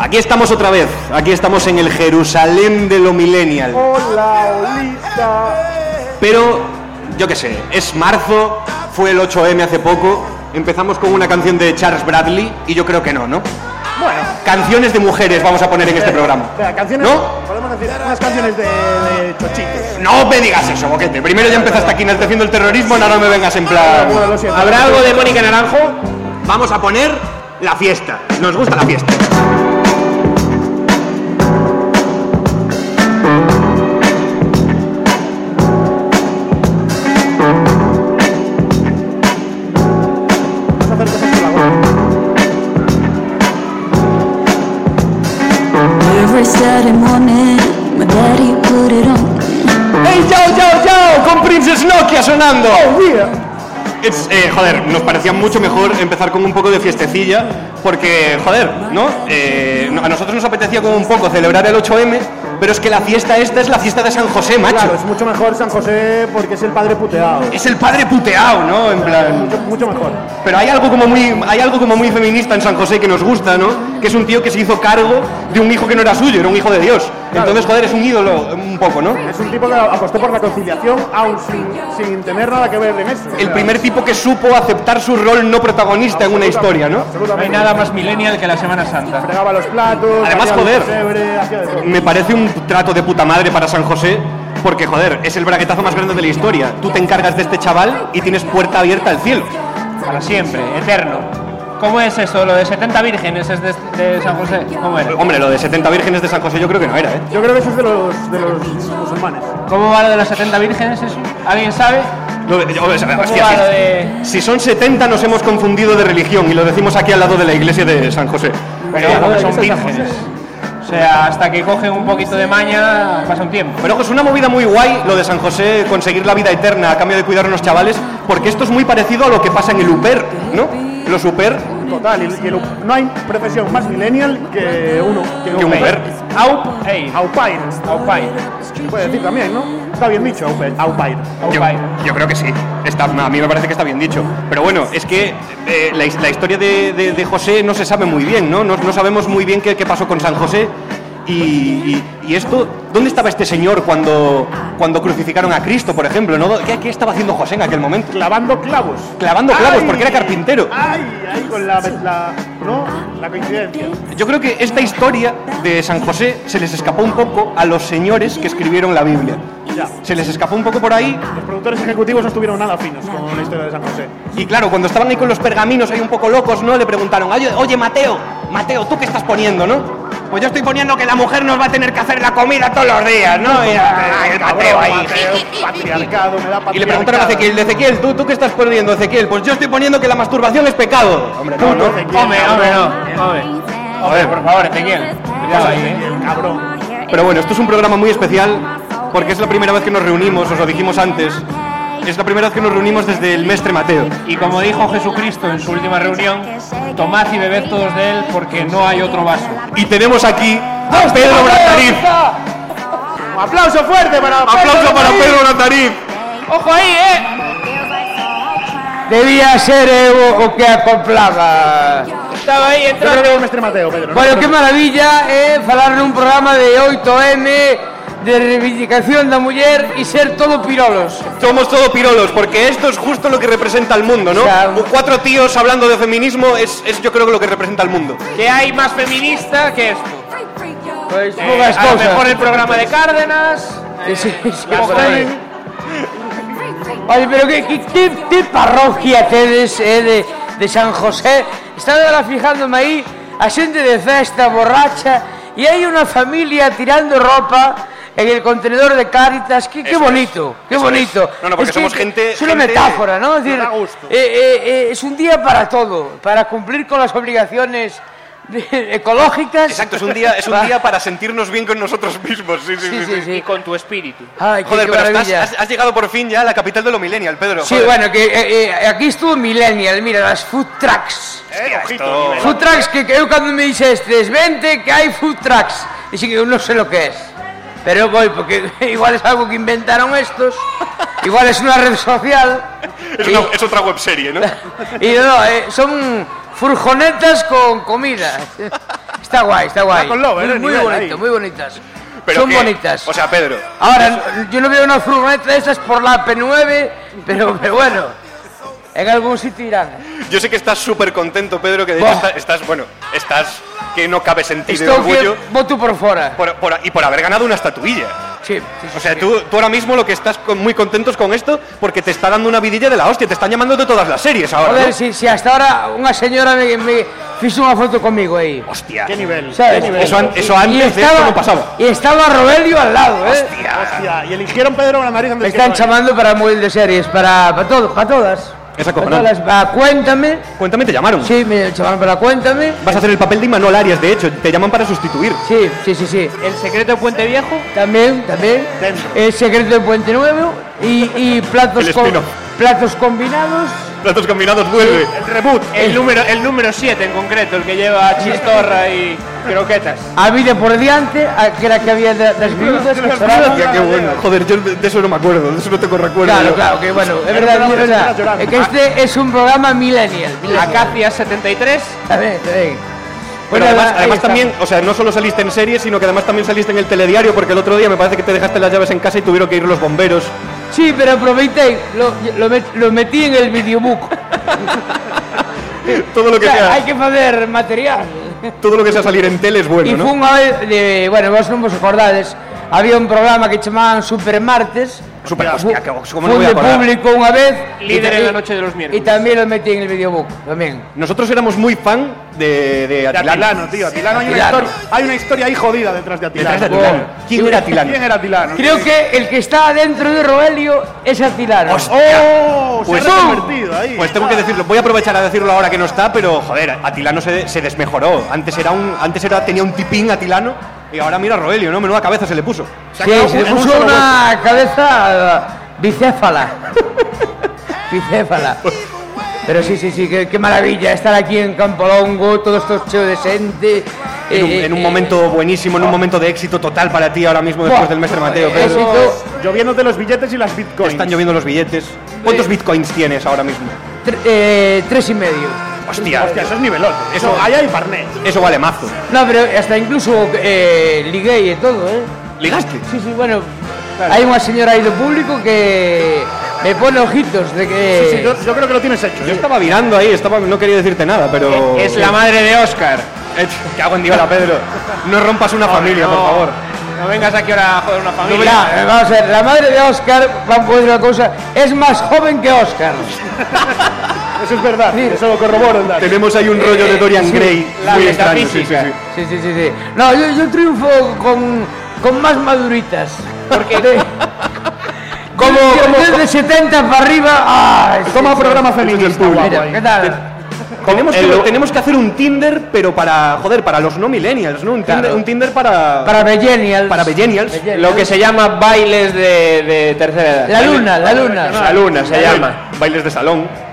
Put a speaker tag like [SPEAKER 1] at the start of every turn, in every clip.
[SPEAKER 1] Aquí estamos otra vez, aquí estamos en el Jerusalén de lo millennial.
[SPEAKER 2] Hola, Olita.
[SPEAKER 1] Pero, yo qué sé, es marzo, fue el 8M hace poco, empezamos con una canción de Charles Bradley y yo creo que no, ¿no?
[SPEAKER 2] Bueno,
[SPEAKER 1] Canciones de mujeres vamos a poner en este
[SPEAKER 2] espera,
[SPEAKER 1] programa.
[SPEAKER 2] espera, canciones.
[SPEAKER 1] ¿No?
[SPEAKER 2] Podemos decir unas canciones de, de chochitos.
[SPEAKER 1] No me digas eso, boquete. Primero ya empezaste aquí enalteciendo el terrorismo, ahora no me vengas en plan.
[SPEAKER 2] Bueno, lo siento.
[SPEAKER 1] ¿Habrá algo de Mónica Naranjo? Vamos a poner la fiesta. Nos gusta la fiesta.
[SPEAKER 2] Vamos a hacer cosas con la boca.
[SPEAKER 3] Every Saturday morning, my daddy put it on.
[SPEAKER 1] ¡Hey, chao, chao, chao! Con Princess Nokia sonando. Es, eh, joder, nos parecía mucho mejor empezar con un poco de fiestecilla, porque, joder, ¿no? Eh, no- a nosotros nos apetecía como un poco celebrar el 8M, pero es que la fiesta esta es la fiesta de San José, macho.
[SPEAKER 2] Claro, es mucho mejor San José porque es el padre puteado.
[SPEAKER 1] Es el padre puteado, ¿no? En plan.
[SPEAKER 2] Mucho, mucho mejor.
[SPEAKER 1] Pero hay algo como muy hay algo como muy feminista en San José que nos gusta, ¿no? Que es un tío que se hizo cargo de un hijo que no era suyo, era un hijo de Dios. Entonces, joder, es un ídolo eh, un poco, ¿no?
[SPEAKER 2] Es un tipo que apostó por la conciliación, aún sin, sin tener nada que ver en eso.
[SPEAKER 1] El primer tipo que supo aceptar su rol no protagonista en una historia, ¿no?
[SPEAKER 4] No hay nada más millennial que la Semana Santa.
[SPEAKER 2] Fregaba los platos,
[SPEAKER 1] Además,
[SPEAKER 2] hacía
[SPEAKER 1] joder.
[SPEAKER 2] el pesebre, hacía de todo.
[SPEAKER 1] Me parece un trato de puta madre para San José, porque joder, es el braguetazo más grande de la historia. Tú te encargas de este chaval y tienes puerta abierta al cielo.
[SPEAKER 4] Para siempre, eterno. ¿Cómo es eso? Lo de 70 vírgenes es de, de San José. ¿Cómo era?
[SPEAKER 1] Hombre, lo de 70 vírgenes de San José yo creo que no era, ¿eh?
[SPEAKER 2] Yo creo que eso es de los, de los musulmanes.
[SPEAKER 4] ¿Cómo va lo de los 70 vírgenes eso? ¿Alguien sabe?
[SPEAKER 1] Lo de- yo- hostia,
[SPEAKER 4] ¿Cómo va
[SPEAKER 1] si-
[SPEAKER 4] lo de.?
[SPEAKER 1] Si son 70 nos hemos confundido de religión y lo decimos aquí al lado de la iglesia de San José.
[SPEAKER 4] Pero
[SPEAKER 1] Eh,
[SPEAKER 4] no, que son vírgenes. O sea, hasta que cogen un poquito de maña, pasa un tiempo.
[SPEAKER 1] Pero ojo, es pues una movida muy guay lo de San José, conseguir la vida eterna a cambio de cuidar a unos chavales, porque esto es muy parecido a lo que pasa en el UPER, ¿no? Los UPER,
[SPEAKER 2] Total, y, y el- no hay profesión más millennial que uno. Que
[SPEAKER 1] que un UPER.
[SPEAKER 4] Au, hey, au,
[SPEAKER 2] Au pair.
[SPEAKER 4] au pai,
[SPEAKER 2] Se puede decir también, ¿no? Está bien dicho, au pair. Au pair.
[SPEAKER 4] au
[SPEAKER 1] Yo,
[SPEAKER 4] pai.
[SPEAKER 1] yo creo que sí, está, a mí me parece que está bien dicho. Pero bueno, es que eh, la, his- la historia de, de- de José no se sabe muy bien, ¿no? No, no sabemos muy bien qué, qué pasó con San José. Y, y- y esto, ¿dónde estaba este señor cuando, cuando crucificaron a Cristo, por ejemplo? ¿no? ¿Qué, qué estaba haciendo José en aquel momento?
[SPEAKER 2] Clavando clavos.
[SPEAKER 1] Clavando clavos,
[SPEAKER 2] ¡Ay!
[SPEAKER 1] porque era carpintero.
[SPEAKER 2] Ay, ay, con la, la, ¿no? la coincidencia.
[SPEAKER 1] Yo creo que esta historia de San José se les escapó un poco a los señores que escribieron la Biblia.
[SPEAKER 2] Ya.
[SPEAKER 1] Se les escapó un poco por ahí
[SPEAKER 2] Los productores ejecutivos no estuvieron nada finos con la historia de San José.
[SPEAKER 1] Y claro, cuando estaban ahí con los pergaminos ahí un poco locos, ¿no? Le preguntaron, oye, oye, Mateo, Mateo, ¿tú qué estás poniendo, no? Pues yo estoy poniendo que la mujer nos va a tener que hacer la comida todos los días, ¿no? Y, ay, el Mateo ahí.
[SPEAKER 2] Mateo, patriarcado, me da patriarcado.
[SPEAKER 1] Y le preguntaron a Ezequiel, Ezequiel, ¿tú, ¿tú qué estás poniendo, Ezequiel? Pues yo estoy poniendo que la masturbación es pecado. Hombre, no, no.
[SPEAKER 4] Hombre, hombre, no. Hombre, Hombre, por favor, Ezequiel. Cuidado ahí, eh.
[SPEAKER 2] Cabrón.
[SPEAKER 1] Pero bueno, esto es un programa muy especial porque es la primera vez que nos reunimos, os lo dijimos antes. Es la primera vez que nos reunimos desde el mestre Mateo.
[SPEAKER 4] Y como dijo Jesucristo en su última reunión, tomad y bebed todos de él porque no hay otro vaso.
[SPEAKER 1] Y tenemos aquí a Pedro Bratariz.
[SPEAKER 2] Un aplauso fuerte para
[SPEAKER 1] Aplauso para Pedro Bratariz.
[SPEAKER 4] ¡Ojo ahí, eh!
[SPEAKER 5] Debía ser eu o que acoplaba.
[SPEAKER 4] Estaba ahí
[SPEAKER 2] Yo creo
[SPEAKER 4] entrando.
[SPEAKER 2] que es el mestre Mateo, Pedro. ¿no?
[SPEAKER 5] Bueno, que maravilla é eh, falar nun programa de 8M de reivindicación da muller e ser todo pirolos.
[SPEAKER 1] Somos todo pirolos, porque esto es justo lo que representa al mundo, ¿no?
[SPEAKER 5] Claro.
[SPEAKER 1] Cuatro tíos hablando de feminismo es, es yo creo que lo que representa al mundo.
[SPEAKER 4] Que hay más feminista que esto.
[SPEAKER 5] Pois
[SPEAKER 4] Eh,
[SPEAKER 5] poucas
[SPEAKER 4] a lo
[SPEAKER 5] cousas.
[SPEAKER 4] mejor el programa de Cárdenas.
[SPEAKER 5] Sí, sí, sí,
[SPEAKER 4] la
[SPEAKER 5] por
[SPEAKER 4] mujer-
[SPEAKER 5] aí. Oye, pero que, que, que, que parroquia tedes eh, de, de San José? Están ahora fijándome aí a xente de festa, borracha, e hai unha familia tirando ropa en el contenedor de Cáritas. Que, que
[SPEAKER 1] Eso es,
[SPEAKER 5] bonito, que
[SPEAKER 1] eso
[SPEAKER 5] bonito.
[SPEAKER 1] es. No, no, porque
[SPEAKER 5] que-
[SPEAKER 1] somos gente-
[SPEAKER 5] Es una
[SPEAKER 1] gente-
[SPEAKER 5] metáfora, ¿no? Es,
[SPEAKER 2] que
[SPEAKER 5] decir,
[SPEAKER 2] da gusto.
[SPEAKER 5] eh, eh, eh, es un día para todo, para cumplir con las obligaciones de- ecológicas.
[SPEAKER 1] Exacto, es un día, es un día para sentirnos bien con nosotros mismos. Sí, sí, sí. sí.
[SPEAKER 5] Sí, sí, sí.
[SPEAKER 4] Y con tu espíritu.
[SPEAKER 5] Ay, que-
[SPEAKER 1] Joder,
[SPEAKER 5] que
[SPEAKER 1] pero estás-
[SPEAKER 5] maravilla.
[SPEAKER 1] has, has llegado por fin ya a la capital de lo millennial, Pedro.
[SPEAKER 5] Sí,
[SPEAKER 1] joder.
[SPEAKER 5] bueno, que eh, eh, aquí estuvo Millennial, mira, las food trucks.
[SPEAKER 1] Hostia,
[SPEAKER 2] Eh, ojito,
[SPEAKER 1] esto-
[SPEAKER 2] nivel.
[SPEAKER 5] Food trucks que, que eu cando me dixestes, vente que hai food trucks. E sin que eu non sei lo que es. Pero eu voy, porque igual es algo que inventaron estos, igual es una red social.
[SPEAKER 1] es,
[SPEAKER 5] y,
[SPEAKER 1] una- es otra webserie, ¿no?
[SPEAKER 5] y no, eh, son furgonetas con comida. Está guai, está guai.
[SPEAKER 2] Está con lobo,
[SPEAKER 5] muy,
[SPEAKER 2] eh,
[SPEAKER 5] muy
[SPEAKER 2] nivel
[SPEAKER 5] bonito,
[SPEAKER 2] ahí.
[SPEAKER 5] muy bonitas.
[SPEAKER 1] Pero
[SPEAKER 5] Son
[SPEAKER 1] que-
[SPEAKER 5] bonitas.
[SPEAKER 1] O sea, Pedro,
[SPEAKER 5] Ahora, yo no veo una furgoneta de esas por la P9, pero, pero bueno, en algún sitio irán.
[SPEAKER 1] yo sé que estás súper contento, Pedro, que de hecho
[SPEAKER 5] Buah.
[SPEAKER 1] estás, estás, bueno, estás que no cabes en ti de
[SPEAKER 5] Estoy
[SPEAKER 1] orgullo
[SPEAKER 5] voto por fuera.
[SPEAKER 1] por- por- y por haber ganado una estatuilla.
[SPEAKER 5] Sí, sí, sí,
[SPEAKER 1] O sea,
[SPEAKER 5] sí.
[SPEAKER 1] tú, tú ahora mismo lo que estás con- muy contentos con esto porque te está dando una vidilla de la hostia, te están llamando de todas las series ahora.
[SPEAKER 5] Joder,
[SPEAKER 1] ¿no?
[SPEAKER 5] si, si hasta ahora una señora me, me hizo una foto conmigo ahí.
[SPEAKER 1] Hostia.
[SPEAKER 2] ¿Qué nivel? ¿Qué
[SPEAKER 5] ¿Sabes?
[SPEAKER 2] nivel?
[SPEAKER 1] Eso, an- eso
[SPEAKER 5] Y
[SPEAKER 1] antes de esto no pasaba.
[SPEAKER 5] Y estaba Robelio al lado, ¿eh?
[SPEAKER 2] Hostia, y eligieron Pedro con la nariz antes
[SPEAKER 5] Me
[SPEAKER 2] que
[SPEAKER 5] están
[SPEAKER 2] yo. ¿eh?
[SPEAKER 5] llamando para móvil de series, para, para todo, para todas.
[SPEAKER 1] Es
[SPEAKER 5] Para
[SPEAKER 1] acojonante.
[SPEAKER 5] todas, para Cuéntame.
[SPEAKER 1] Cuéntame, te llamaron.
[SPEAKER 5] Sí, me llamaron para Cuéntame.
[SPEAKER 1] Vas a hacer el papel de Imanol Arias, de hecho, te llaman para sustituir.
[SPEAKER 5] Sí, sí, sí, sí.
[SPEAKER 4] El secreto de Puente Viejo.
[SPEAKER 5] También, también.
[SPEAKER 2] Dentro.
[SPEAKER 5] El secreto de Puente Nuevo y, y platos,
[SPEAKER 1] El
[SPEAKER 5] con-
[SPEAKER 1] espino.
[SPEAKER 5] platos combinados.
[SPEAKER 1] Platos combinados vuelve. Eh.
[SPEAKER 4] El reboot. El número el número 7 en concreto, el que lleva chistorra y croquetas.
[SPEAKER 5] A vida por diante, a- que era que había de- las viudas que lloraban.
[SPEAKER 1] Hostia, qué bueno. Joder, yo de eso no me acuerdo, de eso no tengo recuerdo.
[SPEAKER 5] Claro, claro, que bueno, es verdad, es verdad. Es que este es un programa millennial. millennial.
[SPEAKER 4] Acacia 73.
[SPEAKER 5] También, también.
[SPEAKER 1] Pero
[SPEAKER 5] Bueno,
[SPEAKER 1] además,
[SPEAKER 5] ahí
[SPEAKER 1] además
[SPEAKER 5] está.
[SPEAKER 1] también, o sea, no solo saliste en series, sino que además también saliste en el telediario, porque el otro día me parece que te dejaste las llaves en casa y tuvieron que ir los bomberos.
[SPEAKER 5] Sí, pero aproveité, lo, lo, met- lo metí en el videobook.
[SPEAKER 1] Todo lo que
[SPEAKER 5] Claro,
[SPEAKER 1] sea,
[SPEAKER 5] Hay que hacer material.
[SPEAKER 1] todo lo que sea salir en tele es
[SPEAKER 5] E
[SPEAKER 1] bueno,
[SPEAKER 5] fue
[SPEAKER 1] ¿no?
[SPEAKER 5] unha vez de, bueno, vos non vos acordades, había un programa que chamaban Super Martes.
[SPEAKER 1] Super- hostia, que- como non
[SPEAKER 5] fun
[SPEAKER 1] voy a
[SPEAKER 5] de
[SPEAKER 1] acordar.
[SPEAKER 5] público unha vez.
[SPEAKER 4] Líder
[SPEAKER 5] y ta-
[SPEAKER 4] en la
[SPEAKER 5] y-
[SPEAKER 4] noche de los miércoles.
[SPEAKER 5] Y también lo metí en el videobook, tamén.
[SPEAKER 1] Nosotros éramos muy fan de, de
[SPEAKER 2] De
[SPEAKER 1] Atilano.
[SPEAKER 2] Atilano, tío. Atilano, hay,
[SPEAKER 5] Atilano.
[SPEAKER 2] Una historia, hay una historia ahí jodida detrás de Atilano.
[SPEAKER 1] Detrás de
[SPEAKER 5] Wow.
[SPEAKER 1] Atilano. ¿Quién era Atilano?
[SPEAKER 2] ¿Quién era Atilano?
[SPEAKER 5] Creo que el que está dentro de Roelio es Atilano.
[SPEAKER 2] ¡Oh!
[SPEAKER 1] Pues-
[SPEAKER 2] se ha reconvertido ahí.
[SPEAKER 1] Pues tengo que decirlo, voy a aprovechar a decirlo ahora que no está, pero joder, Atilano se, se desmejoró. Antes era un, antes era, tenía un tipín Atilano y ahora mira a Roelio, ¿no? Menuda cabeza se le puso.
[SPEAKER 2] Se ha
[SPEAKER 5] Sí,
[SPEAKER 2] quedado
[SPEAKER 5] se le
[SPEAKER 2] en un
[SPEAKER 5] puso
[SPEAKER 2] solo
[SPEAKER 5] una cabeza eh, bicéfala. bicéfala. Pero sí, sí, sí, qué, qué maravilla estar aquí en Campolongo, todo esto cheo de gente.
[SPEAKER 1] En un,
[SPEAKER 5] eh,
[SPEAKER 1] en un
[SPEAKER 5] eh,
[SPEAKER 1] momento buenísimo, en un momento de éxito total para ti ahora mismo después
[SPEAKER 5] Buah,
[SPEAKER 1] del Mestre Mateo.
[SPEAKER 5] eh,
[SPEAKER 1] Pedro.
[SPEAKER 5] éxito.
[SPEAKER 2] hueco. Lloviéndote los billetes y las bitcoins.
[SPEAKER 1] Están lloviendo los billetes. ¿Cuántos bitcoins tienes ahora mismo?
[SPEAKER 5] tre- eh, tres y medio.
[SPEAKER 1] Hostia,
[SPEAKER 2] Hostia, eso es nivelote.
[SPEAKER 1] Eso-
[SPEAKER 2] Eso, ahí hay parné.
[SPEAKER 1] eso vale mazo.
[SPEAKER 5] No, pero hasta incluso eh, liguei e todo, eh?
[SPEAKER 1] ¿Ligaste?
[SPEAKER 5] Sí, sí, bueno, hai unha señora aí do público que me pone ojitos de que...
[SPEAKER 2] Sí, sí, yo, yo creo que lo tienes hecho.
[SPEAKER 1] Yo estaba mirando ahí, estaba, no quería decirte nada, pero.
[SPEAKER 4] Es la madre de Oscar.
[SPEAKER 1] Eh, Te hago en Diola, Pedro. No rompas una familia, por favor.
[SPEAKER 4] No vengas aquí ahora a joder una familia.
[SPEAKER 5] Mira, vamos a ver, la madre de Oscar, vamos a decir una cosa, es más joven que Oscar.
[SPEAKER 2] Eso es verdad.
[SPEAKER 5] Sí.
[SPEAKER 2] Eso lo corroboro, Dani.
[SPEAKER 1] Tenemos ahí un rollo de Dorian
[SPEAKER 5] sí,
[SPEAKER 1] Gray
[SPEAKER 4] la
[SPEAKER 1] muy extraño. sí,
[SPEAKER 4] metafísica.
[SPEAKER 1] sí, sí.
[SPEAKER 5] Sí, sí, sí, sí. No, yo, yo triunfo con, con más maduritas. Porque... como, desde 70 para arriba... Ah,
[SPEAKER 2] Toma programa
[SPEAKER 1] Eso es el
[SPEAKER 2] feminista,
[SPEAKER 1] público.
[SPEAKER 2] guapo
[SPEAKER 5] Mira,
[SPEAKER 2] ahí.
[SPEAKER 5] ¿qué tal?
[SPEAKER 1] Tenemos que,
[SPEAKER 2] El-
[SPEAKER 1] tenemos que hacer un Tinder, pero para, joder, para los no millennials, ¿no? Un Tinder,
[SPEAKER 5] Claro.
[SPEAKER 1] un Tinder para,
[SPEAKER 5] Para millennials.
[SPEAKER 1] para millennials.
[SPEAKER 4] Lo que se llama bailes de, de tercera edad.
[SPEAKER 5] La luna, la luna.
[SPEAKER 4] La luna se llama.
[SPEAKER 1] Bailes de salón.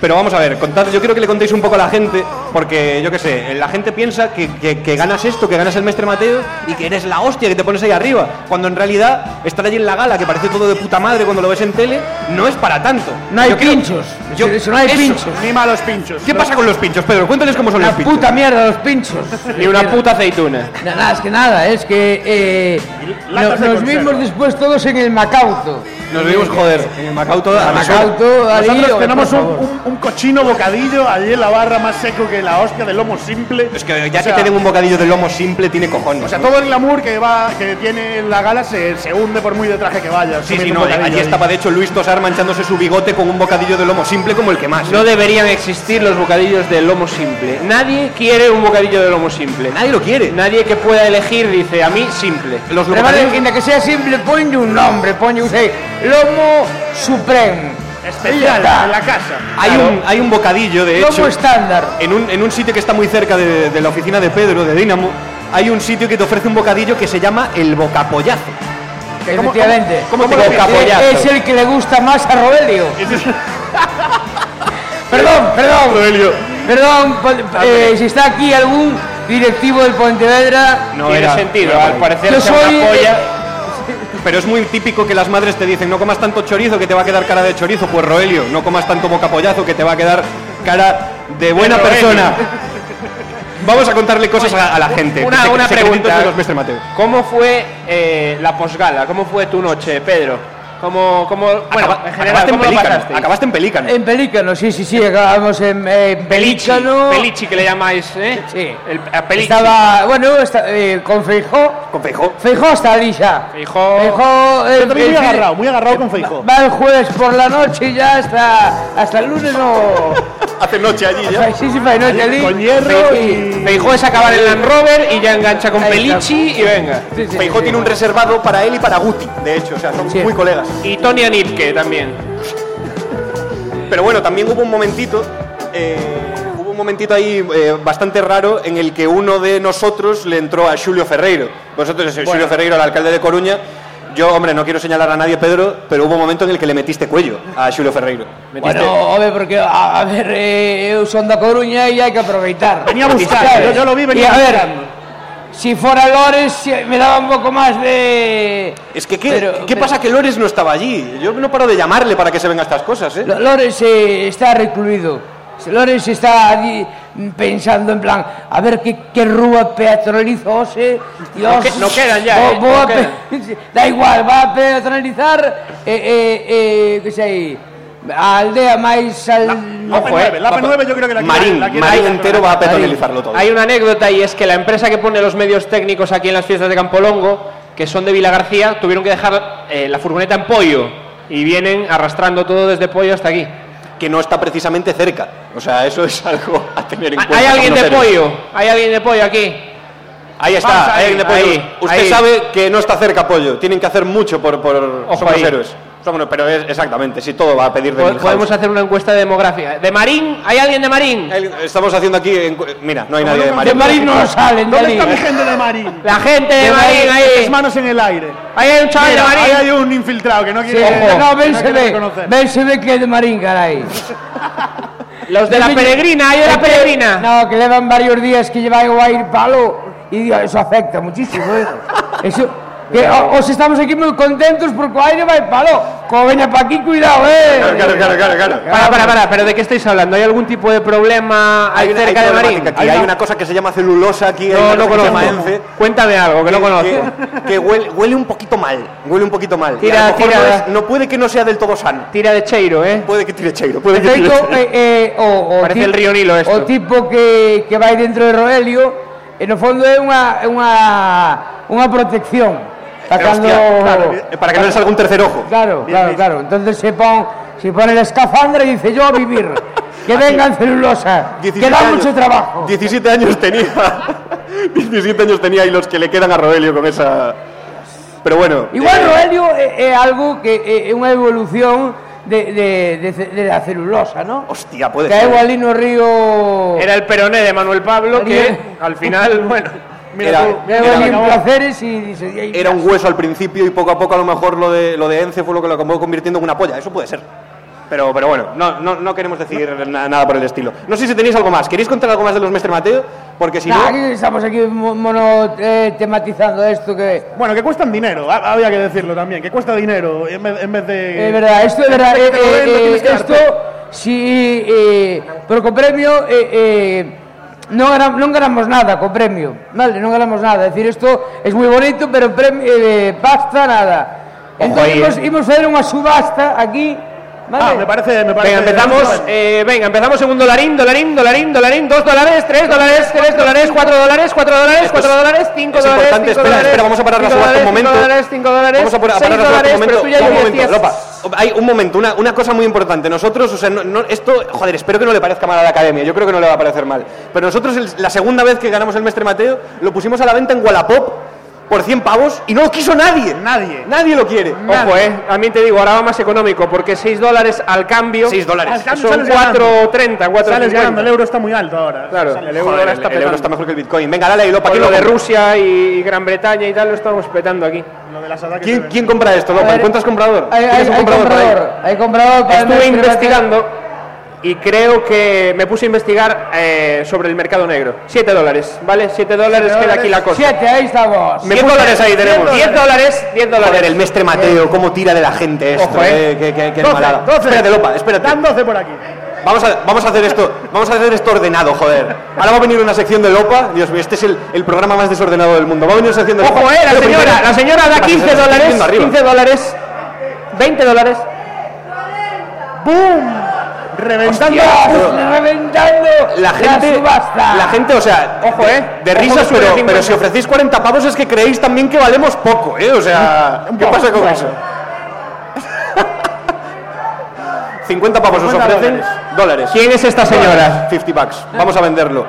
[SPEAKER 1] Pero vamos a ver, contad, yo quiero que le contéis un poco a la gente, porque yo qué sé, la gente piensa que, que- que ganas esto, que ganas el Mestre Mateo y que eres la hostia que te pones ahí arriba, cuando en realidad estar allí en la gala, que parece todo de puta madre cuando lo ves en tele, no es para tanto.
[SPEAKER 5] No hay
[SPEAKER 1] Yo quiero-
[SPEAKER 5] pinchos.
[SPEAKER 1] yo-
[SPEAKER 5] Si- si no hay
[SPEAKER 1] eso.
[SPEAKER 5] pinchos.
[SPEAKER 2] Ni malos pinchos.
[SPEAKER 1] ¿Qué
[SPEAKER 2] No-
[SPEAKER 1] pasa con los pinchos, Pedro? Cuéntales cómo son
[SPEAKER 5] Una
[SPEAKER 1] los pinchos.
[SPEAKER 5] puta mierda los pinchos.
[SPEAKER 4] Ni una puta aceituna.
[SPEAKER 5] Na- Nada, es que nada, es que eh, no-
[SPEAKER 2] latas de
[SPEAKER 5] nos
[SPEAKER 2] conserva.
[SPEAKER 5] vimos después todos en el Macauto.
[SPEAKER 1] Nos vimos, joder, en el Macau todo a las horas.
[SPEAKER 5] Macauto, ahí,
[SPEAKER 2] Nosotros
[SPEAKER 1] eh,
[SPEAKER 5] oye,
[SPEAKER 2] tenemos
[SPEAKER 5] por
[SPEAKER 2] un,
[SPEAKER 5] favor.
[SPEAKER 2] un- un cochino bocadillo allí en la barra más seco que la hostia de lomo simple.
[SPEAKER 1] Es que ya
[SPEAKER 2] O
[SPEAKER 1] que
[SPEAKER 2] sea,
[SPEAKER 1] te den un bocadillo de lomo simple tiene cojones.
[SPEAKER 2] O sea,
[SPEAKER 1] ¿no?
[SPEAKER 2] todo el glamour que va, que tiene la gala se, se hunde por muy de traje que vaya.
[SPEAKER 1] Sí, sí,
[SPEAKER 2] comiendo
[SPEAKER 1] no,
[SPEAKER 2] un
[SPEAKER 1] eh,
[SPEAKER 2] bocadillo
[SPEAKER 1] allí
[SPEAKER 2] ahí.
[SPEAKER 1] estaba de hecho Luis Tosar manchándose su bigote con un bocadillo de lomo simple como el que más. ¿eh?
[SPEAKER 4] No deberían existir los bocadillos de lomo simple. Nadie quiere un bocadillo de lomo simple.
[SPEAKER 1] Nadie lo quiere.
[SPEAKER 4] Nadie que pueda elegir dice, a mí simple.
[SPEAKER 1] Los
[SPEAKER 5] Pero vale,
[SPEAKER 1] locales-
[SPEAKER 5] quinta que sea simple, ponle un nombre, ponle un eh, Lomo Supreme.
[SPEAKER 2] Especial,
[SPEAKER 5] Ya está.
[SPEAKER 2] en la casa.
[SPEAKER 1] hay,
[SPEAKER 5] claro.
[SPEAKER 1] un, hay un bocadillo, de
[SPEAKER 5] Lomo
[SPEAKER 1] hecho,
[SPEAKER 5] estándar.
[SPEAKER 1] en un, en un sitio que está muy cerca de, de la oficina de Pedro, de Dinamo, hay un sitio que te ofrece un bocadillo que se llama el bocapollazo.
[SPEAKER 2] cómo-
[SPEAKER 5] Efectivamente.
[SPEAKER 1] cómo- cómo
[SPEAKER 5] Eh,
[SPEAKER 1] te capollazo?
[SPEAKER 5] Es el que le gusta más a Robelio. perdón, perdón. Perdón, pon- eh, si está aquí algún directivo del Pontevedra.
[SPEAKER 1] No
[SPEAKER 4] Tiene
[SPEAKER 1] era- no
[SPEAKER 4] sentido,
[SPEAKER 1] era
[SPEAKER 4] al
[SPEAKER 1] por ahí.
[SPEAKER 4] parecer
[SPEAKER 5] Yo
[SPEAKER 4] sea una
[SPEAKER 5] soy, eh,
[SPEAKER 4] polla.
[SPEAKER 1] Pero es muy típico que las madres te dicen, no comas tanto chorizo que te va a quedar cara de chorizo. Pues Roelio, no comas tanto bocapollazo que te va a quedar cara de buena
[SPEAKER 2] Roelio.
[SPEAKER 1] persona. Vamos a contarle cosas a, a la gente.
[SPEAKER 4] Una,
[SPEAKER 1] Se-
[SPEAKER 4] una
[SPEAKER 1] secretitos
[SPEAKER 4] pregunta.
[SPEAKER 1] de los Mestre Mateo.
[SPEAKER 4] ¿Cómo fue eh, la posgala? ¿Cómo fue tu noche, Pedro? ¿Cómo, cómo, bueno,
[SPEAKER 1] Acaba-
[SPEAKER 4] en general,
[SPEAKER 1] acabaste, en
[SPEAKER 4] ¿cómo lo
[SPEAKER 1] pelícano,
[SPEAKER 4] pasasteis?
[SPEAKER 1] acabaste en Pelícano.
[SPEAKER 5] En Pelícano, sí, sí, sí, acabamos en, en
[SPEAKER 4] Pelichi,
[SPEAKER 5] Pelícano.
[SPEAKER 4] Pelichi que le llamáis, ¿eh?
[SPEAKER 5] Sí.
[SPEAKER 4] El, a Pelichi.
[SPEAKER 5] Estaba, bueno, esta- eh, con Feijó.
[SPEAKER 1] Con Feijó.
[SPEAKER 5] Feijó está allí ya.
[SPEAKER 4] Feijó.
[SPEAKER 5] Feijó, eh,
[SPEAKER 2] Yo también muy
[SPEAKER 5] eh,
[SPEAKER 2] agarrado, muy agarrado con Feijó.
[SPEAKER 5] Va el jueves por la noche y ya hasta, hasta el lunes no.
[SPEAKER 1] Hace noche allí ya.
[SPEAKER 5] sí, sí, fai noche allí.
[SPEAKER 2] Con hierro y.
[SPEAKER 4] Feijó es acabar el Land Rover y ya engancha con
[SPEAKER 5] Ahí
[SPEAKER 4] Pelichi y venga.
[SPEAKER 5] Sí, sí,
[SPEAKER 1] Feijó
[SPEAKER 5] sí,
[SPEAKER 1] tiene
[SPEAKER 5] sí.
[SPEAKER 1] un reservado para él y para Guti, de hecho, o sea, son
[SPEAKER 5] Sí.
[SPEAKER 1] muy colegas.
[SPEAKER 4] Y Tony Anipke también.
[SPEAKER 1] Pero bueno, también hubo un momentito, eh, hubo un momentito ahí eh, bastante raro en el que uno de nosotros le entró a Julio Ferreiro. Vosotros, eh, Julio Ferreiro, el alcalde de Coruña. Yo, hombre, no quiero señalar a nadie, Pedro, pero hubo un momento en el que le metiste cuello a Julio Ferreiro. Metiste-
[SPEAKER 5] Bueno, home, porque a, a ver, eh, eu son da Coruña e hai que aproveitar.
[SPEAKER 2] Venía buscando,
[SPEAKER 5] ¿Sabes?
[SPEAKER 2] yo- yo lo vi, venía
[SPEAKER 5] Y a ver,
[SPEAKER 2] buscando.
[SPEAKER 5] si fuera Lores si- me daba un poco más de...
[SPEAKER 1] es que, ¿qué,
[SPEAKER 5] Pero-
[SPEAKER 1] ¿qué
[SPEAKER 5] pero-
[SPEAKER 1] pasa que Lores no estaba allí? Yo no paro de llamarle para que se vengan estas cosas, ¿eh?
[SPEAKER 5] Lo- Lores eh, está recluido. Lores está allí pensando en plan, a ver qué, qué rúa peatonalizo hoxe. Dios,
[SPEAKER 4] que- no quedan ya, eh,
[SPEAKER 5] vou
[SPEAKER 4] no
[SPEAKER 5] a pe- Da igual, va a peatonalizar eh, eh, eh, que sei, a aldea máis al...
[SPEAKER 2] La
[SPEAKER 4] Ojo,
[SPEAKER 2] P9,
[SPEAKER 4] eh,
[SPEAKER 2] la
[SPEAKER 1] va-
[SPEAKER 2] P9 yo creo que la
[SPEAKER 1] Marín,
[SPEAKER 2] la quiere-
[SPEAKER 1] Marín
[SPEAKER 2] la-
[SPEAKER 1] entero va a peatonalizarlo todo.
[SPEAKER 4] Hay una anécdota y es que la empresa que pone los medios técnicos aquí en las fiestas de Campolongo, que son de Vila García, tuvieron que dejar eh, la furgoneta en pollo y vienen arrastrando todo desde pollo hasta aquí.
[SPEAKER 1] que no está precisamente cerca. O sea, eso es algo a tener en cuenta.
[SPEAKER 4] ¿Hay alguien de
[SPEAKER 1] conocer.
[SPEAKER 4] pollo? ¿Hay alguien de pollo aquí?
[SPEAKER 1] Ahí
[SPEAKER 4] Vamos
[SPEAKER 1] está,
[SPEAKER 4] ahí,
[SPEAKER 1] hay alguien de pollo.
[SPEAKER 4] ahí,
[SPEAKER 1] Usted
[SPEAKER 4] ahí.
[SPEAKER 1] sabe que no está cerca pollo. Tienen que hacer mucho por. por
[SPEAKER 4] Ojo
[SPEAKER 1] somos
[SPEAKER 4] ahí.
[SPEAKER 1] héroes. Somos, pero es, exactamente, si todo va a pedir de
[SPEAKER 4] Po-
[SPEAKER 1] Milhouse.
[SPEAKER 4] Podemos hacer una encuesta demográfica. ¿De Marín? ¿Hay alguien de Marín?
[SPEAKER 1] El- Estamos haciendo aquí. encu- Mira, no hay nadie de Marín.
[SPEAKER 5] De Marín no salen, de
[SPEAKER 2] ¿Dónde está
[SPEAKER 5] allí.
[SPEAKER 2] mi gente de Marín?
[SPEAKER 4] La gente de,
[SPEAKER 5] De
[SPEAKER 4] Marín,
[SPEAKER 5] Marín,
[SPEAKER 2] Las
[SPEAKER 4] ahí.
[SPEAKER 2] manos en el aire.
[SPEAKER 4] Ahí hay un chaval
[SPEAKER 2] Mira,
[SPEAKER 4] de
[SPEAKER 2] ahí
[SPEAKER 4] Marín.
[SPEAKER 2] hay un infiltrado que no
[SPEAKER 5] Sí,
[SPEAKER 2] quiere.
[SPEAKER 5] ojo. No, ben
[SPEAKER 2] no
[SPEAKER 5] se
[SPEAKER 2] quiere
[SPEAKER 5] ve,
[SPEAKER 2] reconocer.
[SPEAKER 5] ben se ve que é de Marín, carai.
[SPEAKER 4] Los de la peregrina, ahí de la peregrina.
[SPEAKER 5] No, que llevan varios días que lleva a ir palo y digo, eso afecta muchísimo. ¿eh? Eso, que o- os estamos aquí muy contentos porque aire va el palo. Como venga para aquí, cuidado,
[SPEAKER 1] Claro,
[SPEAKER 5] eh.
[SPEAKER 1] claro, claro, claro, claro.
[SPEAKER 4] Ah, Para, para, para, pero ¿de qué estáis hablando? ¿Hay algún tipo de problema
[SPEAKER 1] Hay una-
[SPEAKER 4] cerca
[SPEAKER 1] hay
[SPEAKER 4] de
[SPEAKER 1] problemática
[SPEAKER 4] Marín?
[SPEAKER 1] aquí. Hay, una cosa que se llama celulosa aquí. hay
[SPEAKER 4] No,
[SPEAKER 1] una
[SPEAKER 4] no
[SPEAKER 1] cosa que se
[SPEAKER 4] conozco.
[SPEAKER 1] llama ence,
[SPEAKER 4] Cuéntame algo que no
[SPEAKER 1] que,
[SPEAKER 4] conozco.
[SPEAKER 1] que huele, huele un poquito mal. Huele un poquito mal. Y
[SPEAKER 4] Tira,
[SPEAKER 1] a lo mejor
[SPEAKER 4] tira.
[SPEAKER 1] No, es- no puede que no sea del todo sano.
[SPEAKER 4] Tira de Cheiro, ¿eh?
[SPEAKER 1] Puede que tire cheiro. Puede que tire
[SPEAKER 5] Perfecto,
[SPEAKER 1] cheiro.
[SPEAKER 5] eh, eh, o, o
[SPEAKER 4] Parece
[SPEAKER 5] ti-
[SPEAKER 4] el río Nilo esto.
[SPEAKER 5] O tipo que, que vai dentro de Roelio, e no fondo é unha, é unha, unha protección. Para
[SPEAKER 1] Pero,
[SPEAKER 5] cando...
[SPEAKER 1] hostia, claro, eh, para que no le salga un tercer ojo.
[SPEAKER 5] Claro,
[SPEAKER 2] Bien
[SPEAKER 5] claro,
[SPEAKER 2] visto.
[SPEAKER 5] claro. Entonces se pone, se pone la escafandra y dice yo a vivir. Que vengan celulosa. Que
[SPEAKER 1] 17
[SPEAKER 5] da
[SPEAKER 1] años-
[SPEAKER 5] mucho trabajo.
[SPEAKER 1] 17 años tenía. 17 años tenía y los que le quedan a Roelio con esa. Pero bueno.
[SPEAKER 5] Igual
[SPEAKER 1] eh,
[SPEAKER 5] Roelio é, é algo que é, é unha evolución de, de, de, ce- de la celulosa, ¿no?
[SPEAKER 1] Hostia, puede ser.
[SPEAKER 5] Caeu ali no río...
[SPEAKER 4] Era el peroné de Manuel Pablo que
[SPEAKER 5] María.
[SPEAKER 4] al final, bueno.
[SPEAKER 2] Mira
[SPEAKER 1] Era-
[SPEAKER 2] tú,
[SPEAKER 5] Caeu
[SPEAKER 2] mira,
[SPEAKER 5] ali en
[SPEAKER 2] acabó.
[SPEAKER 5] placeres y dice... "Ay,
[SPEAKER 1] Era un hueso al principio y poco a poco a lo mejor lo de, lo de Ence fue lo que lo acabó convirtiendo en una polla. Eso puede ser. Pero, pero bueno, no, no, no queremos decir na- nada por el estilo. No sé si tenéis algo más. ¿Queréis contar algo más de los Mestre Mateo? Porque si
[SPEAKER 5] Nah,
[SPEAKER 1] no.
[SPEAKER 5] aquí estamos aquí mo- mono eh, tematizando esto que
[SPEAKER 2] Bueno, que cuestan dinero, ha- había que decirlo también, que cuesta dinero en vez, en vez de...
[SPEAKER 5] es verdad esto es verdad
[SPEAKER 2] En vez de
[SPEAKER 5] eh,
[SPEAKER 2] que te lo den, lo
[SPEAKER 5] eh,
[SPEAKER 2] tienes que
[SPEAKER 5] esto
[SPEAKER 2] darte.
[SPEAKER 5] si eh, pero co premio eh, eh, non, ganam, non ganamos nada co premio vale non ganamos nada é dicir isto é moi bonito pero premio eh, basta nada entón
[SPEAKER 4] aí,
[SPEAKER 5] imos, imos fazer unha subasta aquí
[SPEAKER 2] Ah,
[SPEAKER 5] vale
[SPEAKER 2] me parece... Me parece
[SPEAKER 4] Venga, empezamos. eh, venga, empezamos en un dolarín, dolarín, dolarín, dolarín, dos dólares, tres dólares, tres dólares, cuatro dólares, cuatro dólares, cuatro dólares, cinco
[SPEAKER 1] es
[SPEAKER 4] dólares.
[SPEAKER 1] importante,
[SPEAKER 4] cinco
[SPEAKER 1] espera,
[SPEAKER 4] dólares,
[SPEAKER 1] espera, vamos a parar la
[SPEAKER 4] cinco
[SPEAKER 1] subasta un
[SPEAKER 4] dólares,
[SPEAKER 1] momento.
[SPEAKER 4] Cinco dólares, cinco dólares,
[SPEAKER 1] Vamos a, por- a
[SPEAKER 4] seis
[SPEAKER 1] parar a
[SPEAKER 4] dólares,
[SPEAKER 1] un
[SPEAKER 4] pero
[SPEAKER 1] momento.
[SPEAKER 4] tú ya
[SPEAKER 1] un
[SPEAKER 4] llevas
[SPEAKER 1] momento,
[SPEAKER 4] diez.
[SPEAKER 1] Lopa. Hay un momento, una, una cosa muy importante. Nosotros, o sea, no- no- esto, joder, espero que no le parezca mal a la academia. Yo creo que no le va a parecer mal. Pero nosotros, el- la segunda vez que ganamos el Mestre Mateo, lo pusimos a la venta en Wallapop por 100 pavos y no lo quiso nadie.
[SPEAKER 2] Nadie.
[SPEAKER 1] Nadie lo quiere.
[SPEAKER 4] Ojo, eh. A mí te digo, ahora va más económico, porque 6 dólares al cambio.
[SPEAKER 1] 6 dólares.
[SPEAKER 2] Al cambio
[SPEAKER 4] Son
[SPEAKER 2] sales ganando.
[SPEAKER 4] 4.30, 4.50.
[SPEAKER 2] Sales ganando, el euro está muy alto ahora.
[SPEAKER 4] Claro,
[SPEAKER 2] Sales-
[SPEAKER 4] el euro ahora está
[SPEAKER 1] el euro
[SPEAKER 4] petando.
[SPEAKER 1] está mejor que el Bitcoin. Venga, dale, y Lopa,
[SPEAKER 4] Con
[SPEAKER 1] ¿quién
[SPEAKER 4] lo
[SPEAKER 1] lo
[SPEAKER 4] de
[SPEAKER 1] compra?
[SPEAKER 4] Rusia y Gran Bretaña y tal, lo estamos petando aquí.
[SPEAKER 2] Lo de las ataques
[SPEAKER 1] ¿Quién,
[SPEAKER 2] de-
[SPEAKER 1] quién compra esto, Lopa?
[SPEAKER 5] A ver,
[SPEAKER 1] ¿Encuentras comprador?
[SPEAKER 5] hai, hai,
[SPEAKER 1] ¿Tienes un
[SPEAKER 5] hai
[SPEAKER 1] comprador por ahí?
[SPEAKER 5] comprador hai comprador para
[SPEAKER 4] Estuve
[SPEAKER 5] nuestro-
[SPEAKER 4] investigando y creo que me puse a investigar eh, sobre el mercado negro. 7 dólares, ¿vale? 7 dólares queda aquí la cosa.
[SPEAKER 5] siete ahí estamos
[SPEAKER 1] Me puse- cien
[SPEAKER 4] 10 dólares, 10 dólares.
[SPEAKER 1] Joder, el Mestre Mateo, cómo tira de la gente esto.
[SPEAKER 4] Ojo, eh.
[SPEAKER 1] eh, qué- qué- qué
[SPEAKER 2] 12,
[SPEAKER 1] malada.
[SPEAKER 2] 12.
[SPEAKER 1] Espérate, Lopa, espérate.
[SPEAKER 2] Dan 12 por aquí.
[SPEAKER 1] Vamos a, vamos a hacer esto, vamos a hacer esto ordenado, joder. Ahora va a venir una sección de Lopa. Dios mío, este es el, el programa más desordenado del mundo. Va a venir una sección de Lopa.
[SPEAKER 4] Ojo, eh, la
[SPEAKER 1] Pero
[SPEAKER 4] señora,
[SPEAKER 1] primero-
[SPEAKER 4] la señora da
[SPEAKER 1] Vale, se
[SPEAKER 4] 15
[SPEAKER 1] está
[SPEAKER 4] dólares,
[SPEAKER 1] yendo arriba.
[SPEAKER 4] 15 dólares, 20 dólares.
[SPEAKER 2] Reventando.
[SPEAKER 5] reventando
[SPEAKER 1] La gente,
[SPEAKER 5] subasta.
[SPEAKER 1] la gente, o sea,
[SPEAKER 4] Ojo,
[SPEAKER 1] de-
[SPEAKER 4] eh.
[SPEAKER 1] de
[SPEAKER 4] Ojo
[SPEAKER 1] risas,
[SPEAKER 4] que sube
[SPEAKER 1] pero,
[SPEAKER 4] 50.
[SPEAKER 1] pero si ofrecéis 40 pavos es que creéis también que valemos poco, ¿eh? O sea, ¿qué pasa con eso? 50 pavos os
[SPEAKER 2] 50
[SPEAKER 1] ofrecen dólares.
[SPEAKER 4] ¿Quién es esta señora?
[SPEAKER 1] 50 bucks. Vamos a venderlo.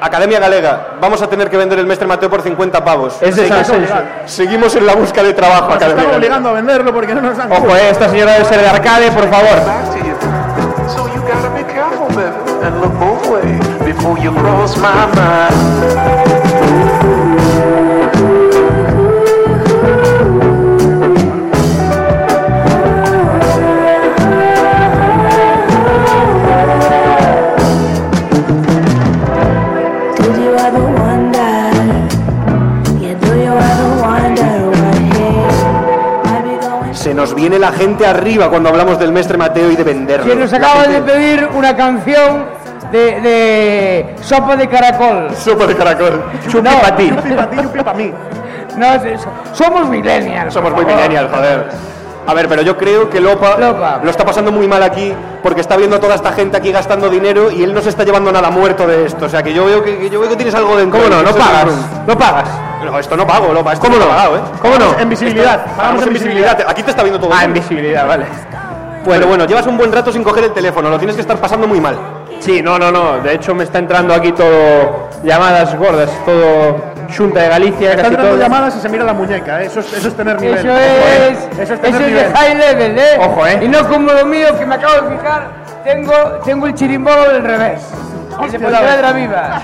[SPEAKER 1] Academia Galega, vamos a tener que vender el Mestre Mateo por 50 pavos.
[SPEAKER 4] Es de San
[SPEAKER 1] Seguimos- Seguimos en la busca de trabajo,
[SPEAKER 2] Nos
[SPEAKER 1] Academia
[SPEAKER 2] están
[SPEAKER 1] Galega.
[SPEAKER 2] obligando a venderlo porque no nos dan
[SPEAKER 4] Ojo, eh, esta señora debe ser de arcade, por favor.
[SPEAKER 6] back to you. So you gotta be careful, baby, and look both ways before you cross my mind.
[SPEAKER 3] Did you ever wonder? Yeah, do you ever wonder what he might be going
[SPEAKER 1] Se nos viene la gente arriba cuando hablamos del Mestre Mateo y de venderlo.
[SPEAKER 5] Que nos
[SPEAKER 1] La
[SPEAKER 5] acaban de
[SPEAKER 1] gente-
[SPEAKER 5] pedir una canción de, de sopa de caracol.
[SPEAKER 1] Sopa de caracol. Chupi
[SPEAKER 5] No.
[SPEAKER 1] pa' ti.
[SPEAKER 2] Yupi pa' ti, yupi pa' mí.
[SPEAKER 5] No, es eso. somos millennials.
[SPEAKER 1] Somos
[SPEAKER 5] por
[SPEAKER 1] muy
[SPEAKER 5] favor.
[SPEAKER 1] millennial, joder. A ver, pero yo creo que Lopa,
[SPEAKER 5] Lopa.
[SPEAKER 1] lo está pasando muy mal aquí porque está viendo a toda esta gente aquí gastando dinero y él no se está llevando nada muerto de esto. O sea, que yo veo que, que yo veo que tienes algo dentro.
[SPEAKER 4] ¿Cómo no? No
[SPEAKER 1] Eso es
[SPEAKER 4] pagas.
[SPEAKER 1] un-
[SPEAKER 4] No pagas.
[SPEAKER 1] No, esto no pago, Lopa. Esto ¿Cómo no? Pagado, ¿eh?
[SPEAKER 4] ¿Cómo no?
[SPEAKER 2] En visibilidad.
[SPEAKER 1] Pagamos en visibilidad. Aquí te está viendo todo. el
[SPEAKER 4] Ah,
[SPEAKER 1] mundo.
[SPEAKER 4] invisibilidad, vale.
[SPEAKER 1] Pero bueno, llevas un buen rato sin coger el teléfono. Lo tienes que estar pasando muy mal.
[SPEAKER 4] Sí, no, no, no. De hecho, me está entrando aquí todo llamadas gordas, todo Junta de Galicia,
[SPEAKER 2] Están
[SPEAKER 4] casi
[SPEAKER 2] dando
[SPEAKER 4] todo.
[SPEAKER 2] llamadas y se mira la muñeca. ¿eh? Eso es, eso es tener nivel.
[SPEAKER 5] Eso es,
[SPEAKER 2] Eso
[SPEAKER 5] eso
[SPEAKER 2] es
[SPEAKER 5] es,
[SPEAKER 2] tener
[SPEAKER 5] de
[SPEAKER 2] nivel.
[SPEAKER 5] high level, ¿eh?
[SPEAKER 4] Ojo, ¿eh?
[SPEAKER 5] Y no como lo mío que me acabo de fijar, tengo, tengo el chirimbolo del revés. Ese
[SPEAKER 2] la vez.
[SPEAKER 5] piedra viva.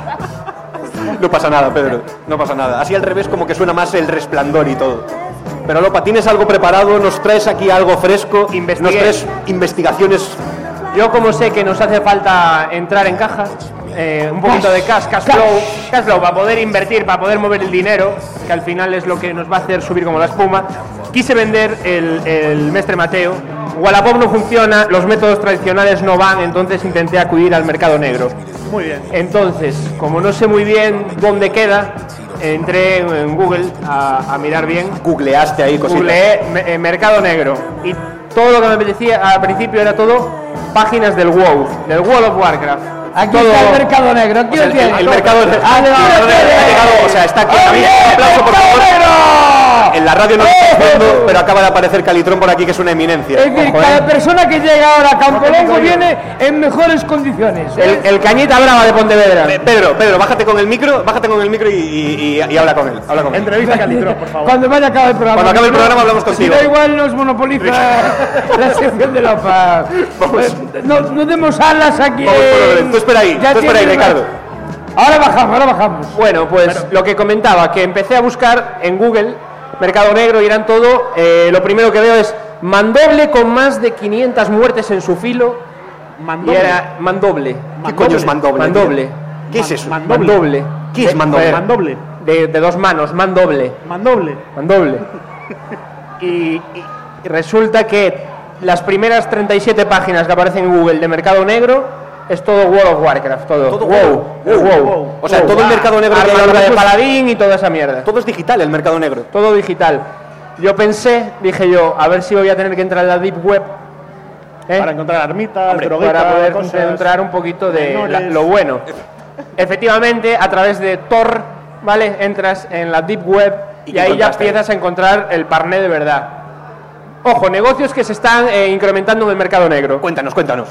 [SPEAKER 1] No pasa nada, Pedro. No pasa nada. Así al revés como que suena más el resplandor y todo. Pero Lopa, ¿tienes algo preparado? ¿Nos traes aquí algo fresco?
[SPEAKER 4] Investigué.
[SPEAKER 1] ¿Nos traes investigaciones?
[SPEAKER 4] Yo como sé que nos hace falta entrar en caja, eh, un poquito de cash, cash
[SPEAKER 5] Cash.
[SPEAKER 4] flow, cash flow para poder invertir, para poder mover el dinero, que al final es lo que nos va a hacer subir como la espuma, quise vender el, el Mestre Mateo. Wallapop no funciona, los métodos tradicionales no van, entonces intenté acudir al mercado negro.
[SPEAKER 2] Muy bien.
[SPEAKER 4] Entonces, como no sé muy bien dónde queda, entré en Google a, a mirar bien
[SPEAKER 1] Googleaste ahí cositas.
[SPEAKER 4] googleé me- eh, Mercado Negro y todo lo que me apetecía al principio era todo páginas del WoW, del World of Warcraft.
[SPEAKER 5] Aquí
[SPEAKER 4] Todo- Pues
[SPEAKER 5] está el mercado negro, aquí
[SPEAKER 1] O sea,
[SPEAKER 5] lo
[SPEAKER 1] el,
[SPEAKER 5] tienes.
[SPEAKER 1] el mercado
[SPEAKER 5] Aquí
[SPEAKER 1] Ah, no,
[SPEAKER 5] lo
[SPEAKER 1] no, no, no,
[SPEAKER 5] tienes.
[SPEAKER 1] ha llegado, o sea, está aquí. David, un aplauso, por favor. En la radio no lo estás viendo, pero acaba de aparecer Calitrón por aquí, que es una eminencia.
[SPEAKER 5] Es decir,
[SPEAKER 1] Ojo, eh.
[SPEAKER 5] cada persona que llega ahora
[SPEAKER 4] pues
[SPEAKER 5] a Campolongo viene en mejores condiciones. ¿eh?
[SPEAKER 4] El, el Cañita Brava de Pontevedra.
[SPEAKER 1] Pe- Pedro, Pedro, bájate con el micro, bájate con el micro y, y- y- y habla con él. Habla con él.
[SPEAKER 2] Entrevista a Calitrón, por favor.
[SPEAKER 5] Cuando vaya a acabar el programa.
[SPEAKER 1] Cuando acabe el
[SPEAKER 5] Si no-
[SPEAKER 1] programa hablamos contigo.
[SPEAKER 5] Si da igual nos monopoliza la sección de la paz. Pues,
[SPEAKER 1] Vamos.
[SPEAKER 5] No, no demos alas aquí.
[SPEAKER 1] Vamos por orden. Tú espera ahí,
[SPEAKER 5] Ya
[SPEAKER 1] tú espera ahí,
[SPEAKER 5] tiene una-
[SPEAKER 1] Ricardo.
[SPEAKER 5] Ahora bajamos, ahora bajamos.
[SPEAKER 4] Bueno, pues lo que comentaba, que empecé a buscar en Google Mercado Negro, Irán todo, eh, lo primero que veo es mandoble con más de 500 muertes en su filo.
[SPEAKER 2] Mandoble.
[SPEAKER 4] Y era mandoble.
[SPEAKER 1] ¿Qué coño es mandoble?
[SPEAKER 4] Mandoble.
[SPEAKER 1] ¿Qué es eso?
[SPEAKER 2] Mandoble.
[SPEAKER 4] Mandoble. Eh,
[SPEAKER 1] ¿Qué
[SPEAKER 5] Eh,
[SPEAKER 1] es
[SPEAKER 4] De-
[SPEAKER 1] mandoble?
[SPEAKER 2] Mandoble.
[SPEAKER 4] De, de dos manos, mandoble.
[SPEAKER 2] Mandoble.
[SPEAKER 4] Mandoble. Y, y- y resulta que las primeras 37 páginas que aparecen en Google de Mercado Negro es todo World of Warcraft, todo.
[SPEAKER 1] Todo
[SPEAKER 4] wow,
[SPEAKER 1] WoW,
[SPEAKER 4] wow,
[SPEAKER 1] WoW. O sea, todo el mercado negro que hay
[SPEAKER 4] Armadura
[SPEAKER 1] ahora
[SPEAKER 4] de
[SPEAKER 1] mismo es-
[SPEAKER 4] paladín y toda esa mierda.
[SPEAKER 1] Todo es digital, el mercado negro.
[SPEAKER 4] Todo digital. Yo pensé, dije yo, a ver si voy a tener que entrar en la Deep Web. ¿eh?
[SPEAKER 2] Para encontrar armitas,
[SPEAKER 4] Hombre,
[SPEAKER 2] droguitas,
[SPEAKER 4] para poder
[SPEAKER 2] cosas.
[SPEAKER 4] encontrar un poquito de
[SPEAKER 2] menores.
[SPEAKER 4] la- lo bueno. Efectivamente, a través de Tor, ¿vale? Entras en la Deep Web
[SPEAKER 1] ¿Y
[SPEAKER 4] y,
[SPEAKER 1] qué
[SPEAKER 4] ahí ya
[SPEAKER 1] encontraste ahí?
[SPEAKER 4] empiezas a encontrar el parné de verdad. Ojo, negocios que se están eh, incrementando en el mercado negro.
[SPEAKER 1] Cuéntanos, cuéntanos.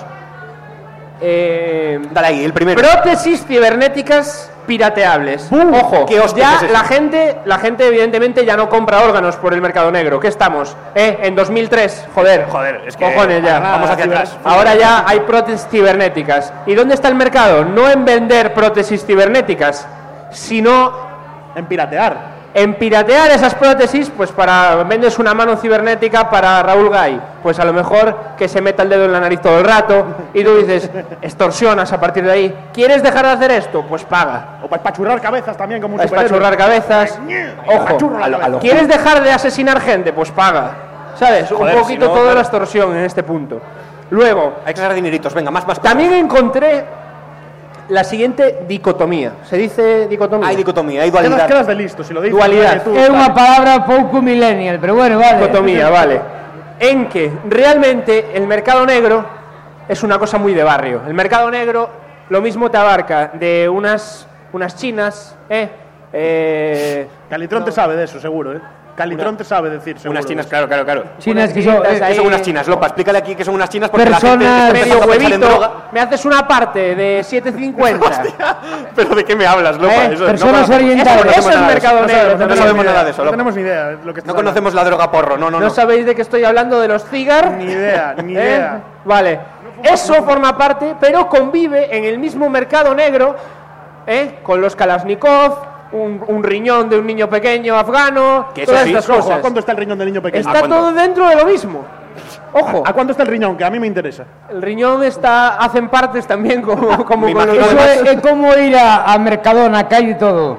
[SPEAKER 4] Eh,
[SPEAKER 1] Dale ahí, el primero. Uh,
[SPEAKER 4] prótesis cibernéticas pirateables. Ojo,
[SPEAKER 1] ¿Qué hostias
[SPEAKER 4] ya
[SPEAKER 1] es eso?
[SPEAKER 4] la gente, la gente evidentemente ya no compra órganos por el mercado negro. ¿Qué estamos? Eh, en 2003, joder.
[SPEAKER 1] Joder, es que-
[SPEAKER 4] cojones ya.
[SPEAKER 1] Ah, vamos hacia
[SPEAKER 4] Ciber-
[SPEAKER 1] atrás.
[SPEAKER 4] Ahora ya hay prótesis cibernéticas. ¿Y dónde está el mercado? No en vender prótesis cibernéticas, sino
[SPEAKER 2] En piratear.
[SPEAKER 4] en piratear esas prótesis, pues para vendes una mano cibernética para Raúl Gay, pues a lo mejor que se meta el dedo en la nariz todo el rato y tú dices, extorsionas a partir de ahí. ¿Quieres dejar de hacer esto? Pues paga.
[SPEAKER 2] O para espachurrar cabezas también como un
[SPEAKER 4] A espachurrar
[SPEAKER 2] superhéroe.
[SPEAKER 4] cabezas. Ojo.
[SPEAKER 2] Espachurro la
[SPEAKER 1] a lo- a lo-
[SPEAKER 2] cabeza.
[SPEAKER 4] ¿Quieres dejar de asesinar gente? Pues paga. ¿Sabes?
[SPEAKER 1] Joder,
[SPEAKER 4] Un
[SPEAKER 1] si
[SPEAKER 4] poquito
[SPEAKER 1] no,
[SPEAKER 4] toda
[SPEAKER 1] claro.
[SPEAKER 4] la extorsión en este punto. Luego,
[SPEAKER 1] Hay que ganar dineritos, venga, más, más.
[SPEAKER 4] también encontré la siguiente dicotomía. ¿Se dice dicotomía?
[SPEAKER 1] Hay dicotomía, hay
[SPEAKER 2] Quedas,
[SPEAKER 1] dualidad.
[SPEAKER 2] quedas de listo, si lo dices.
[SPEAKER 4] Dualidad.
[SPEAKER 2] oye, tú,
[SPEAKER 5] Es
[SPEAKER 2] tal.
[SPEAKER 5] una palabra poco millennial, pero bueno, vale.
[SPEAKER 4] dicotomía, vale. En que realmente el mercado negro es una cosa muy de barrio. El mercado negro lo mismo te abarca de unas, unas chinas, ¿eh? Eh,
[SPEAKER 2] Calitrón te sabe de eso, seguro, ¿eh? Calitrón te sabe decir, seguro.
[SPEAKER 1] Unas chinas, claro, claro, claro.
[SPEAKER 5] Chinas
[SPEAKER 4] unas
[SPEAKER 5] que son.
[SPEAKER 4] chinitas
[SPEAKER 5] eh,
[SPEAKER 1] ¿Qué son
[SPEAKER 4] ahí.
[SPEAKER 1] unas chinas, Lopa? Explícale aquí que son unas chinas porque
[SPEAKER 5] Personas
[SPEAKER 1] la gente está empezando
[SPEAKER 4] medio
[SPEAKER 1] a pensar en
[SPEAKER 4] huevito,
[SPEAKER 1] droga.
[SPEAKER 4] me haces una parte de 7.50.
[SPEAKER 1] ¿Pero de qué me hablas, Lopa?
[SPEAKER 4] Eh,
[SPEAKER 1] Eso,
[SPEAKER 5] personas
[SPEAKER 1] conocemos-
[SPEAKER 5] orientales.
[SPEAKER 1] no conocemos
[SPEAKER 4] Eso es
[SPEAKER 1] nada de
[SPEAKER 4] mercado
[SPEAKER 1] No
[SPEAKER 4] negro,
[SPEAKER 1] sabemos- No
[SPEAKER 4] no
[SPEAKER 1] sabemos
[SPEAKER 2] ni
[SPEAKER 1] nada
[SPEAKER 2] idea,
[SPEAKER 1] de eso,
[SPEAKER 2] No
[SPEAKER 1] Lopa.
[SPEAKER 2] tenemos ni idea de lo que
[SPEAKER 1] No conocemos la droga porro, no, no,
[SPEAKER 4] No,
[SPEAKER 1] no.
[SPEAKER 4] sabéis de qué estoy hablando de los cigar.
[SPEAKER 2] Ni idea, ni
[SPEAKER 4] ¿Eh?
[SPEAKER 2] idea.
[SPEAKER 4] Vale. Eso forma parte, pero convive en el mismo mercado negro ¿eh? con los Kalashnikov, un, un riñón de un niño pequeño afgano,
[SPEAKER 1] Que eso
[SPEAKER 4] todas
[SPEAKER 1] sí, Ah,
[SPEAKER 4] estas
[SPEAKER 2] Ojo, ¿a
[SPEAKER 4] cosas.
[SPEAKER 2] cuánto está el riñón del niño pequeño?
[SPEAKER 4] Está
[SPEAKER 1] cuánto?
[SPEAKER 4] todo dentro de lo mismo. Ojo,
[SPEAKER 1] Ah,
[SPEAKER 2] ¿A cuánto está el riñón? Que a mí me interesa.
[SPEAKER 4] el riñón está hacen partes también como, como
[SPEAKER 1] Me
[SPEAKER 4] con los
[SPEAKER 1] imagino
[SPEAKER 5] Eso
[SPEAKER 1] además-
[SPEAKER 5] es, es como ir a, a Mercadona, calle y todo.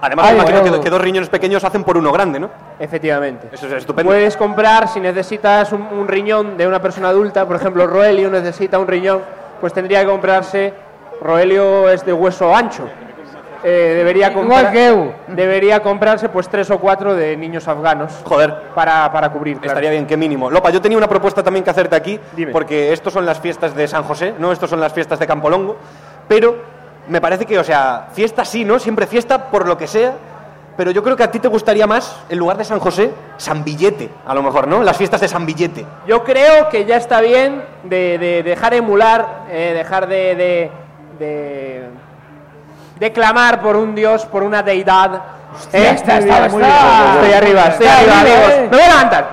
[SPEAKER 1] Además,
[SPEAKER 5] Ay,
[SPEAKER 1] me imagino que,
[SPEAKER 5] bueno.
[SPEAKER 1] que dos riñones pequeños hacen por uno grande, ¿no?
[SPEAKER 4] Efectivamente.
[SPEAKER 1] Eso es estupendo.
[SPEAKER 5] Pues,
[SPEAKER 4] Puedes comprar, si necesitas un, un riñón de una persona adulta, por ejemplo, Roelio necesita un riñón, pues tendría que comprarse. Roelio es de hueso ancho. Eh, debería,
[SPEAKER 5] Igual
[SPEAKER 4] comprar-
[SPEAKER 5] que eu.
[SPEAKER 4] debería comprarse pues tres o cuatro de niños afganos
[SPEAKER 1] Joder.
[SPEAKER 4] para, para cubrir. claro.
[SPEAKER 1] Estaría bien, qué mínimo. Lopa, yo tenía una propuesta también que hacerte aquí,
[SPEAKER 4] Dime.
[SPEAKER 1] porque estos son las fiestas de San José, no estos son las fiestas de Campolongo, pero me parece que, o sea, fiesta sí, ¿no? Siempre fiesta por lo que sea, pero yo creo que a ti te gustaría más, en lugar de San José, San Billete, a lo mejor, ¿no? Las fiestas de San Billete.
[SPEAKER 4] Yo creo que ya está bien de, de dejar emular, eh, dejar de, de, de- de clamar por un dios, por una deidad.
[SPEAKER 5] Hostia, está- está-
[SPEAKER 4] Muy bien,
[SPEAKER 5] está-
[SPEAKER 4] muy bien. estoy arriba, estoy
[SPEAKER 5] está
[SPEAKER 4] arriba,
[SPEAKER 5] arriba,
[SPEAKER 4] amigos.
[SPEAKER 5] eh.
[SPEAKER 4] Me voy a levantar.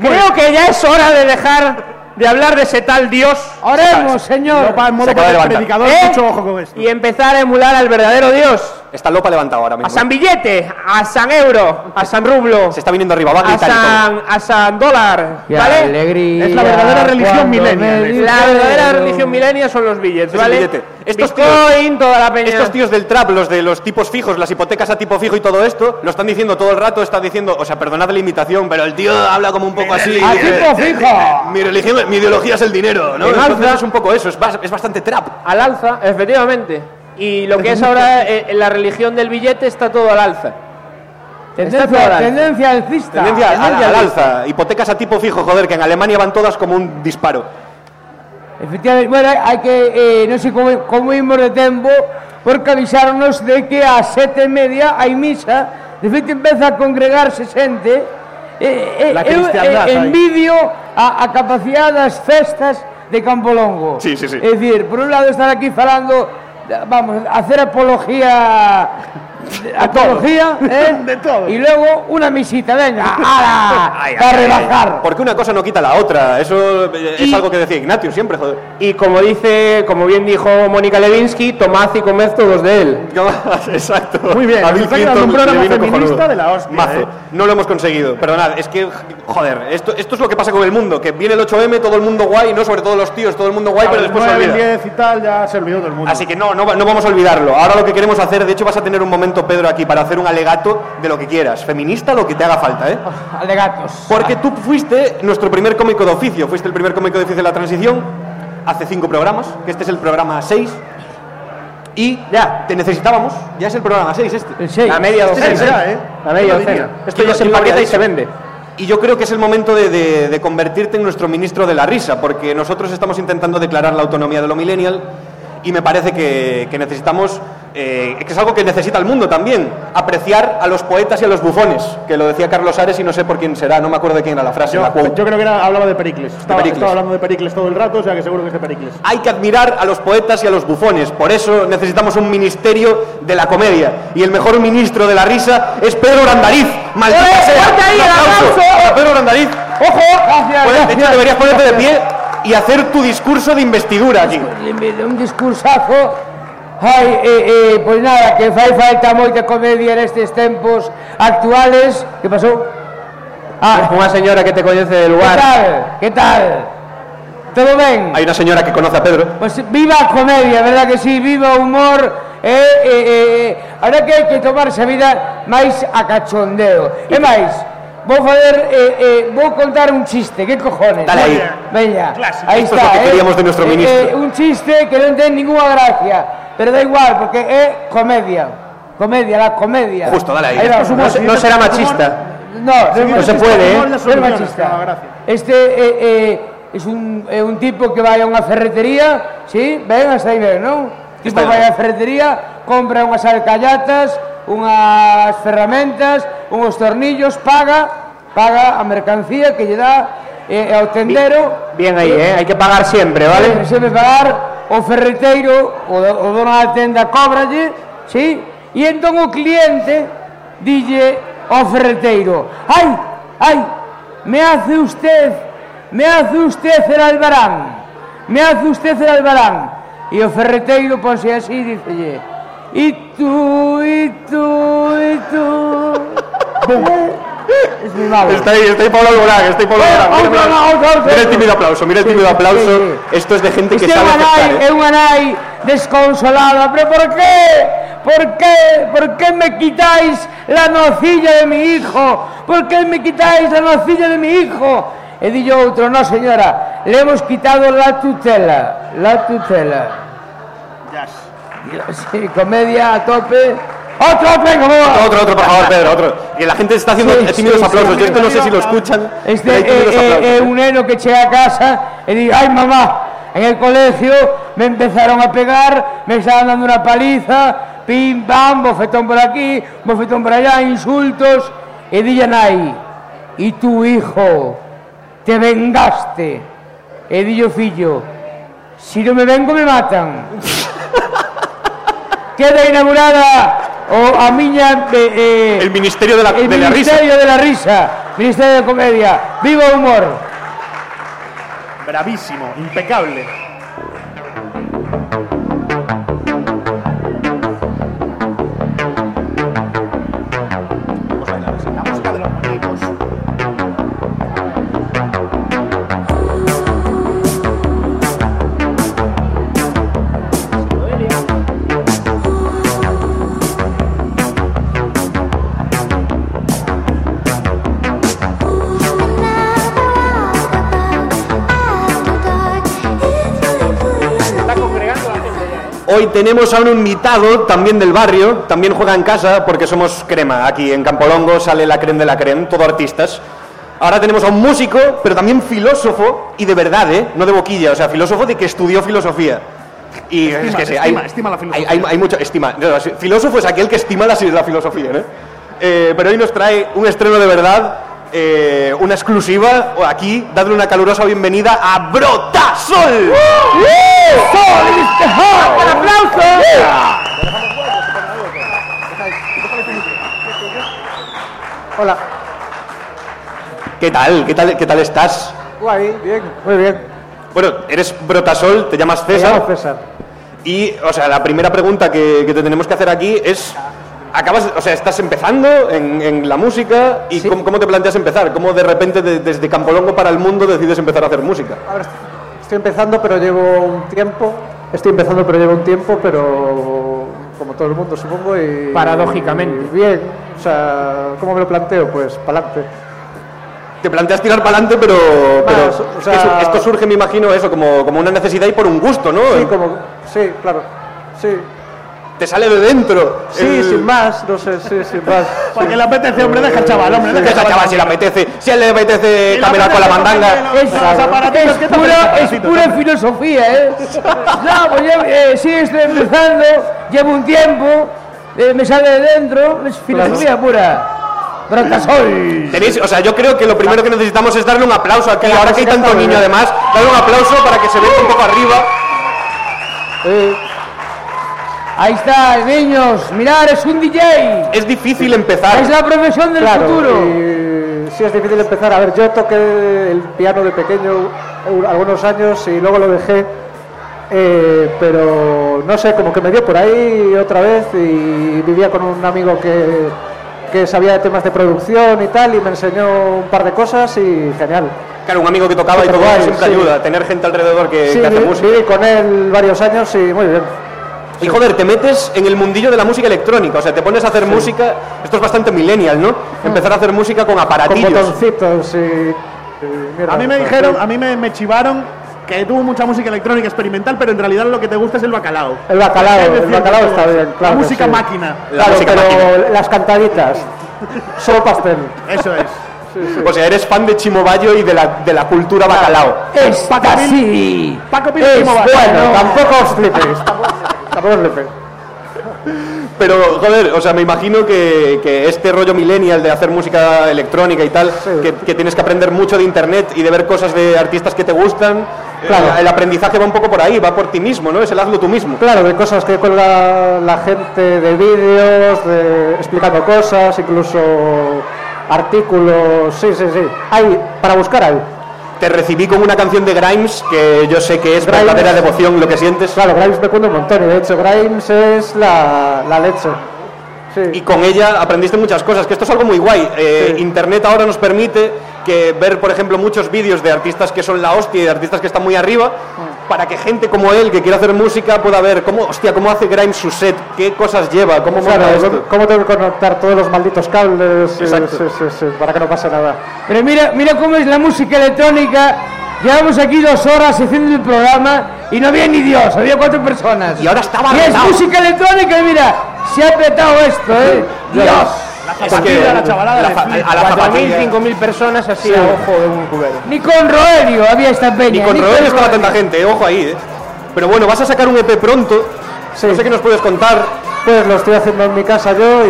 [SPEAKER 4] Creo que ya es hora de dejar de hablar de ese tal dios
[SPEAKER 5] Oremos, señor.
[SPEAKER 2] Lopa en
[SPEAKER 1] Se
[SPEAKER 2] modo
[SPEAKER 1] acaba de levantar.
[SPEAKER 2] predicador,
[SPEAKER 4] ¿Eh?
[SPEAKER 2] mucho ojo con esto.
[SPEAKER 4] y empezar a emular al verdadero dios.
[SPEAKER 1] Está Lopa levantado ahora
[SPEAKER 4] A
[SPEAKER 1] mismo. ¿eh?
[SPEAKER 4] San Billete, a San Euro, a San Rublo,
[SPEAKER 1] Se está viniendo arriba, va a
[SPEAKER 4] a
[SPEAKER 1] gritar y todo.
[SPEAKER 4] San, a San Dólar,
[SPEAKER 5] Qué
[SPEAKER 4] ¿vale?
[SPEAKER 5] alegría
[SPEAKER 2] Es la verdadera religión
[SPEAKER 5] cuando
[SPEAKER 2] millennial,
[SPEAKER 5] me
[SPEAKER 2] eh.
[SPEAKER 4] La verdadera
[SPEAKER 5] dijeron-
[SPEAKER 4] religión milenia son los billetes,
[SPEAKER 1] el
[SPEAKER 4] ¿vale?
[SPEAKER 1] billete. Estos
[SPEAKER 4] Bitcoin, toda la peña.
[SPEAKER 5] Eh,
[SPEAKER 1] Estos tíos del trap, los de los tipos fijos, las hipotecas a tipo fijo y todo esto, lo están diciendo todo el rato, está diciendo, o sea, perdonad la imitación, pero el tío habla como un poco así.
[SPEAKER 5] ¡A
[SPEAKER 1] eh,
[SPEAKER 5] tipo fijo!
[SPEAKER 1] mi religión, mi ideología es el dinero, ¿no?
[SPEAKER 4] En
[SPEAKER 1] Entonces
[SPEAKER 4] alza.
[SPEAKER 1] es un poco eso, es, bas- es bastante trap.
[SPEAKER 4] Al alza, efectivamente. Y lo que es ahora eh, la religión del billete está todo al alza. Está todo al
[SPEAKER 5] Tendencia,
[SPEAKER 4] alza.
[SPEAKER 5] tendencia alcista.
[SPEAKER 1] Tendencia al- al,
[SPEAKER 5] Tendencia
[SPEAKER 1] al alza, hipotecas a tipo fijo, joder, que en Alemania van todas como un disparo.
[SPEAKER 5] Efectivamente, bueno, hay que, eh, no sé cómo, cómo imos de tempo, porque avisáronos de que a sete e media hai misa, de feito empeza a congregarse xente, eh, eh,
[SPEAKER 2] La
[SPEAKER 5] eu
[SPEAKER 2] cristiandad
[SPEAKER 5] eh,
[SPEAKER 2] aí.
[SPEAKER 5] envidio a, a capacidade das festas de Campolongo.
[SPEAKER 1] Sí, sí, sí.
[SPEAKER 5] É dicir, por un lado estar aquí falando, da- vamos, hacer apología... Apología, eh?
[SPEAKER 2] De todo.
[SPEAKER 5] Y luego una misita, venga, ala, para Ah, rebajar.
[SPEAKER 1] Porque una cosa no quita la otra, eso eh, es algo que decía Ignacio siempre, joder.
[SPEAKER 4] Y como dice, como bien dijo Mónica Levinsky, tomad y comed todos de él.
[SPEAKER 1] Exacto.
[SPEAKER 2] Muy bien,
[SPEAKER 1] A
[SPEAKER 2] nos
[SPEAKER 1] Bill
[SPEAKER 2] está
[SPEAKER 1] Clinton
[SPEAKER 2] quedando un
[SPEAKER 1] le
[SPEAKER 2] programa
[SPEAKER 1] vino
[SPEAKER 2] feminista
[SPEAKER 1] cojonudo.
[SPEAKER 2] de la hostia,
[SPEAKER 1] Mazo.
[SPEAKER 2] eh.
[SPEAKER 1] No lo hemos conseguido. Perdonad, es que, joder, esto, esto es lo que pasa con el mundo: que viene el 8M, todo el mundo guay, no sobre todo los tíos, todo el mundo guay, pero
[SPEAKER 2] Ahora,
[SPEAKER 1] después se
[SPEAKER 2] nueve,
[SPEAKER 1] olvida.
[SPEAKER 2] 10 y tal, ya se olvidó todo el mundo.
[SPEAKER 1] Así que no, no, va- no vamos a olvidarlo. Ahora lo que queremos hacer, de hecho, vas a tener un momento, Pedro, aquí para hacer un alegato de lo que quieras. Feminista, lo que te haga falta, ¿eh?
[SPEAKER 5] Al de gatos.
[SPEAKER 1] Porque tú fuiste nuestro primer cómico de oficio, fuiste el primer cómico de oficio de la transición hace cinco programas, que este es el programa 6. Y ya, te necesitábamos, ya es el programa 6 este.
[SPEAKER 5] El seis.
[SPEAKER 4] La media
[SPEAKER 2] Este
[SPEAKER 4] docena.
[SPEAKER 2] será, ¿eh?
[SPEAKER 4] La media
[SPEAKER 2] Yo lo diría.
[SPEAKER 4] docena. Esto
[SPEAKER 1] Yo
[SPEAKER 4] ya
[SPEAKER 1] lo-
[SPEAKER 4] se
[SPEAKER 1] yo lo
[SPEAKER 4] empaqueta
[SPEAKER 1] habría
[SPEAKER 4] y se
[SPEAKER 1] dicho.
[SPEAKER 4] vende.
[SPEAKER 1] Y yo creo que es el momento de, de- de convertirte en nuestro ministro de la risa, porque nosotros estamos intentando declarar la autonomía de lo millennial y me parece que, que necesitamos, eh, que es algo que necesita el mundo también, apreciar a los poetas y a los bufones, que lo decía Carlos Ares y no sé por quién será, no me acuerdo de quién era la frase.
[SPEAKER 2] yo,
[SPEAKER 1] la quote.
[SPEAKER 2] yo creo que era, hablaba de Pericles. Estaba,
[SPEAKER 1] Pericles.
[SPEAKER 2] estaba hablando de Pericles todo el rato, o sea que seguro que es de Pericles.
[SPEAKER 1] Hay que admirar a los poetas y a los bufones, por eso necesitamos un ministerio de la comedia. Y el mejor ministro de la risa es Pedro Randariz. ¡Maldita
[SPEAKER 5] ¡Eh,
[SPEAKER 1] sea!
[SPEAKER 5] fuerte ahí,
[SPEAKER 1] Un aplauso
[SPEAKER 5] aplauso!
[SPEAKER 1] a Pedro Randariz.
[SPEAKER 5] ¡Ojo!
[SPEAKER 4] Pues-
[SPEAKER 5] Gracias,
[SPEAKER 1] Puedes- de
[SPEAKER 5] gracias.
[SPEAKER 1] hecho, deberías ponerte de pie y hacer tu discurso de investidura aquí.
[SPEAKER 5] Le me deu un discursazo Ai, eh, eh, pois nada, que fai falta moita comedia nestes tempos actuales Que pasou? Ah,
[SPEAKER 4] Una señora que te conoce del
[SPEAKER 5] que
[SPEAKER 4] lugar.
[SPEAKER 5] tal? Que tal? Todo ben?
[SPEAKER 1] Hay una señora que conoce a Pedro.
[SPEAKER 5] Pues viva a comedia, verdad que sí, viva o humor eh, eh, eh, eh. Ahora que hai que tomarse a vida máis a cachondeo E máis, Vou fazer, eh, eh, vou contar un chiste, que cojones?
[SPEAKER 1] Dale aí.
[SPEAKER 5] Veña,
[SPEAKER 4] Clásico.
[SPEAKER 5] aí
[SPEAKER 1] Isto
[SPEAKER 5] está,
[SPEAKER 1] é o que
[SPEAKER 5] eh.
[SPEAKER 1] queríamos de nuestro
[SPEAKER 5] Eh,
[SPEAKER 1] ministro.
[SPEAKER 5] eh, un chiste que non ten ninguna gracia, pero da igual, porque é comedia. Comedia, la comedia.
[SPEAKER 1] Justo, dale aí.
[SPEAKER 5] Ahí vamos.
[SPEAKER 4] No, se- no será machista.
[SPEAKER 5] No, no,
[SPEAKER 4] no se puede, ¿eh?
[SPEAKER 5] No es
[SPEAKER 2] Soluciones,
[SPEAKER 5] machista.
[SPEAKER 2] cada gracia.
[SPEAKER 5] Este eh, eh, es un, eh, un tipo que vai a unha ferretería, sí, ben, hasta aí ben, non? Tipo
[SPEAKER 1] Está
[SPEAKER 5] vai
[SPEAKER 1] ben.
[SPEAKER 5] á ferretería, compra unhas alcallatas, unhas ferramentas, unos tornillos, paga, paga a mercancía que lle dá eh, ao tendero,
[SPEAKER 4] Bien ahí, ¿eh? Hay que pagar siempre,
[SPEAKER 5] vale?
[SPEAKER 4] ¿vale?
[SPEAKER 5] se me pagar o ferreteiro, o, do- o dono da tenda cobralle, sí? E entón o cliente dille ao ferreteiro, ai, ai, me hace usted, me hace usted el albarán, me hace usted el albarán. E o ferreteiro ponse así e dicelle, e tú, e tú, e tú. Bum. Es mi malo.
[SPEAKER 1] Está ahí, está ahí Pablo Alborán, está ahí Pablo
[SPEAKER 5] Eh,
[SPEAKER 1] Alborán. Mira,
[SPEAKER 5] otro,
[SPEAKER 1] mira.
[SPEAKER 5] otro, otro,
[SPEAKER 1] Mira el
[SPEAKER 5] otro.
[SPEAKER 1] tímido aplauso, mira el
[SPEAKER 5] Sí,
[SPEAKER 1] tímido
[SPEAKER 5] sí,
[SPEAKER 1] aplauso.
[SPEAKER 5] sí, sí.
[SPEAKER 1] Esto es de gente que
[SPEAKER 5] Usted é
[SPEAKER 1] sabe
[SPEAKER 5] unha nai,
[SPEAKER 1] aceptar.
[SPEAKER 5] é
[SPEAKER 1] ¿eh?
[SPEAKER 5] unha nai desconsolada, pero por qué? Por qué? Por qué me quitáis la nocilla de mi hijo? Por qué me quitáis la nocilla de mi hijo? E dillo outro, no señora, le hemos quitado la tutela, la tutela. Yes. Sí, comedia a tope. Otro, venga, vamos.
[SPEAKER 1] Otro, otro, por favor, Pedro, otro. Que la gente está haciendo
[SPEAKER 5] Sí, sí,
[SPEAKER 1] tímidos
[SPEAKER 5] sí,
[SPEAKER 1] aplausos.
[SPEAKER 5] sí.
[SPEAKER 1] Yo esto no sé si lo escuchan.
[SPEAKER 5] Este
[SPEAKER 1] pero hay
[SPEAKER 5] é
[SPEAKER 1] tímidos aplausos,
[SPEAKER 5] eh,
[SPEAKER 1] ¿eh?
[SPEAKER 5] eh, un neno que chega a casa e di, ai mamá, en el colegio me empezaron a pegar, me estaban dando una paliza, pim, pam, bofetón por aquí, bofetón por allá, insultos, e di a nai, y tu hijo, te vengaste, e di yo fillo, si no me vengo me matan. Queda inaugurada o a miña... eh, eh,
[SPEAKER 1] El Ministerio de la,
[SPEAKER 5] el
[SPEAKER 1] de la Risa.
[SPEAKER 5] Ministerio de la Risa, Ministerio de Comedia, viva o humor.
[SPEAKER 2] Bravísimo, impecable. La música de los muñecos.
[SPEAKER 1] Hoy tenemos a un invitado también del barrio, también juega en casa porque somos crema. Aquí en Campolongo sale la crema de la crema, todo artistas. Ahora tenemos a un músico, pero también filósofo, y de verdad, ¿eh? No de boquilla, o sea, filósofo de que estudió filosofía. Y es que sí, hay,
[SPEAKER 2] estima, estima la filosofía.
[SPEAKER 1] Hay, hay- hay mucho, estima. No, sí, filósofo es aquel que estima la, la filosofía, ¿no? Eh, pero hoy nos trae un estreno de verdad, eh, una exclusiva. Aquí, dadle una calurosa bienvenida a Brotasol.
[SPEAKER 2] ¡Uh!
[SPEAKER 5] ¡Un aplauso!
[SPEAKER 1] ¿Qué tal? ¿Qué tal, qué tal estás?
[SPEAKER 7] Guay, bien, muy bien.
[SPEAKER 1] Bueno, eres Brotasol, te llamas
[SPEAKER 7] Me
[SPEAKER 1] César.
[SPEAKER 7] llamo César.
[SPEAKER 1] Y, o sea, la primera pregunta que, que te tenemos que hacer aquí es. Acabas, o sea, estás empezando en, en la música y ¿cómo, cómo te planteas empezar? ¿Cómo de repente de- desde Campolongo para el mundo decides empezar a hacer música?
[SPEAKER 7] Ahora est- estoy empezando, pero llevo un tiempo. Estoy empezando, pero llevo un tiempo, pero como todo el mundo, supongo. Y,
[SPEAKER 4] Paradójicamente.
[SPEAKER 7] y bien, o sea, ¿cómo me lo planteo? Pues para adelante.
[SPEAKER 1] Te planteas tirar para adelante, pero, pero
[SPEAKER 7] Más, o sea-
[SPEAKER 1] es que su- esto surge, me imagino, eso como, como una necesidad y por un gusto, ¿no?
[SPEAKER 7] Sí, como, sí, claro. Sí,
[SPEAKER 1] Te sale de dentro.
[SPEAKER 7] sí
[SPEAKER 1] el-
[SPEAKER 7] sin más, no sé, sí, sin más.
[SPEAKER 2] Porque le apetece, hombre, deja al chaval, hombre,
[SPEAKER 1] Que
[SPEAKER 2] deja al
[SPEAKER 1] esa chaval si le apetece, si a él le apetece
[SPEAKER 2] Si le
[SPEAKER 1] caminar con la
[SPEAKER 2] apetece, pues
[SPEAKER 1] mandanga.
[SPEAKER 2] cómprale
[SPEAKER 5] Es,
[SPEAKER 2] Los aparatitos, ¿qué
[SPEAKER 5] es,
[SPEAKER 2] tal
[SPEAKER 5] pura,
[SPEAKER 2] los
[SPEAKER 5] es pura filosofía, ¿eh? No, pues yo, eh, sí, estoy empezando, llevo un tiempo, eh, me sale de dentro, es filosofía pura. Brotasol.
[SPEAKER 1] Tenéis, o sea, yo creo que lo primero que necesitamos es darle un aplauso aquí. Ahora que hay tanto niño, además, darle un aplauso para que se vea un poco arriba.
[SPEAKER 5] Ahí está, niños, mirar, es un DJ.
[SPEAKER 1] Es difícil empezar.
[SPEAKER 5] Es la profesión del
[SPEAKER 7] Claro,
[SPEAKER 5] futuro.
[SPEAKER 7] y sí es difícil empezar. A ver, yo toqué el piano de pequeño un- algunos años y luego lo dejé, eh, pero no sé, como que me dio por ahí otra vez y vivía con un amigo que, que sabía de temas de producción y tal y me enseñó un par de cosas y genial.
[SPEAKER 1] Claro, un amigo que tocaba y
[SPEAKER 7] Pero
[SPEAKER 1] todo
[SPEAKER 7] guay,
[SPEAKER 1] siempre
[SPEAKER 7] sí.
[SPEAKER 1] ayuda. Tener gente alrededor Eh, que,
[SPEAKER 7] Sí,
[SPEAKER 1] que hace
[SPEAKER 7] vi-
[SPEAKER 1] música.
[SPEAKER 7] viví con él varios años y muy bien.
[SPEAKER 1] Y joder, te metes en el mundillo de la música electrónica, o sea, te pones a hacer música, esto es bastante millennial, ¿no? Empezar a hacer música con
[SPEAKER 8] Con
[SPEAKER 1] aparatillos.
[SPEAKER 8] botoncitos y. y mierda.
[SPEAKER 2] A mí me dijeron, a mí me, me chivaron que tuvo mucha música electrónica experimental, pero en realidad lo que te gusta es el bacalao.
[SPEAKER 8] El bacalao,
[SPEAKER 2] Es
[SPEAKER 8] el
[SPEAKER 2] decir,
[SPEAKER 8] bacalao
[SPEAKER 2] todo,
[SPEAKER 8] está bien, claro.
[SPEAKER 2] La
[SPEAKER 8] que
[SPEAKER 2] música
[SPEAKER 8] sí.
[SPEAKER 2] máquina.
[SPEAKER 1] La
[SPEAKER 8] Claro,
[SPEAKER 1] música
[SPEAKER 8] pero las cantaditas. Solo pastel.
[SPEAKER 2] Eso es.
[SPEAKER 1] O sea, eres fan de Chimobayo y de la, de la cultura bacalao.
[SPEAKER 5] Es así.
[SPEAKER 2] Paco Pil,
[SPEAKER 8] Es
[SPEAKER 2] ¿cómo va?
[SPEAKER 8] bueno,
[SPEAKER 2] No.
[SPEAKER 8] tampoco os flipéis. Tampoco os flipéis.
[SPEAKER 1] Pero, joder, o sea, me imagino que, que este rollo millennial de hacer música electrónica y tal, que, que tienes que aprender mucho de internet y de ver cosas de artistas que te gustan,
[SPEAKER 8] Claro.
[SPEAKER 1] eh, el aprendizaje va un poco por ahí, va por ti mismo, ¿no? Es el hazlo tú mismo.
[SPEAKER 8] Claro, de cosas que cuelga la gente, de vídeos, de explicando cosas, incluso artículos. Sí, sí, sí. Hay, para buscar hay.
[SPEAKER 1] Te recibí con una canción de Grimes que yo sé que es
[SPEAKER 8] Grimes.
[SPEAKER 1] verdadera devoción lo que sientes.
[SPEAKER 8] Claro, Grimes me cuenta un montón. y De hecho, Grimes es la, la leche.
[SPEAKER 1] y
[SPEAKER 8] Sí.
[SPEAKER 1] con ella aprendiste muchas cosas, que esto es algo muy guay. Eh,
[SPEAKER 8] Sí.
[SPEAKER 1] Internet ahora nos permite que ver, por ejemplo, muchos vídeos de artistas que son la hostia y de artistas que están muy arriba,
[SPEAKER 5] Mm.
[SPEAKER 1] para que gente como él, que quiere hacer música, pueda ver cómo, hostia, cómo hace Grimes su set, qué cosas lleva, cómo monta
[SPEAKER 8] Claro,
[SPEAKER 1] esto.
[SPEAKER 8] Pues ¿cómo tengo que conectar todos los malditos cables? Eh, Sí,
[SPEAKER 1] Exacto.
[SPEAKER 8] sí, sí, sí, para que no pase nada.
[SPEAKER 5] Pero mira, mira cómo es la música electrónica. Llevamos aquí dos horas haciendo el programa y no había ni Dios, había cuatro personas.
[SPEAKER 1] Y ahora estaba
[SPEAKER 5] Y es
[SPEAKER 1] apretado.
[SPEAKER 5] música electrónica, y mira, se ha apretado esto, ¿eh? Dios.
[SPEAKER 1] Es
[SPEAKER 8] Pues
[SPEAKER 2] zapatilla,
[SPEAKER 1] que-
[SPEAKER 2] la chavalada
[SPEAKER 1] la
[SPEAKER 2] le
[SPEAKER 1] fa-
[SPEAKER 2] flipa.
[SPEAKER 1] a la
[SPEAKER 9] 4.000,
[SPEAKER 1] zapatilla.
[SPEAKER 9] 5.000 personas así a ojo de un cubero.
[SPEAKER 5] Ni con Roelio había esta peña.
[SPEAKER 1] Ni con Roel estaba tanta gente, eh, ojo ahí, eh. Pero bueno, vas a sacar un EP pronto.
[SPEAKER 8] Sí.
[SPEAKER 1] No sé qué nos puedes contar.
[SPEAKER 8] Pues lo estoy haciendo en mi casa yo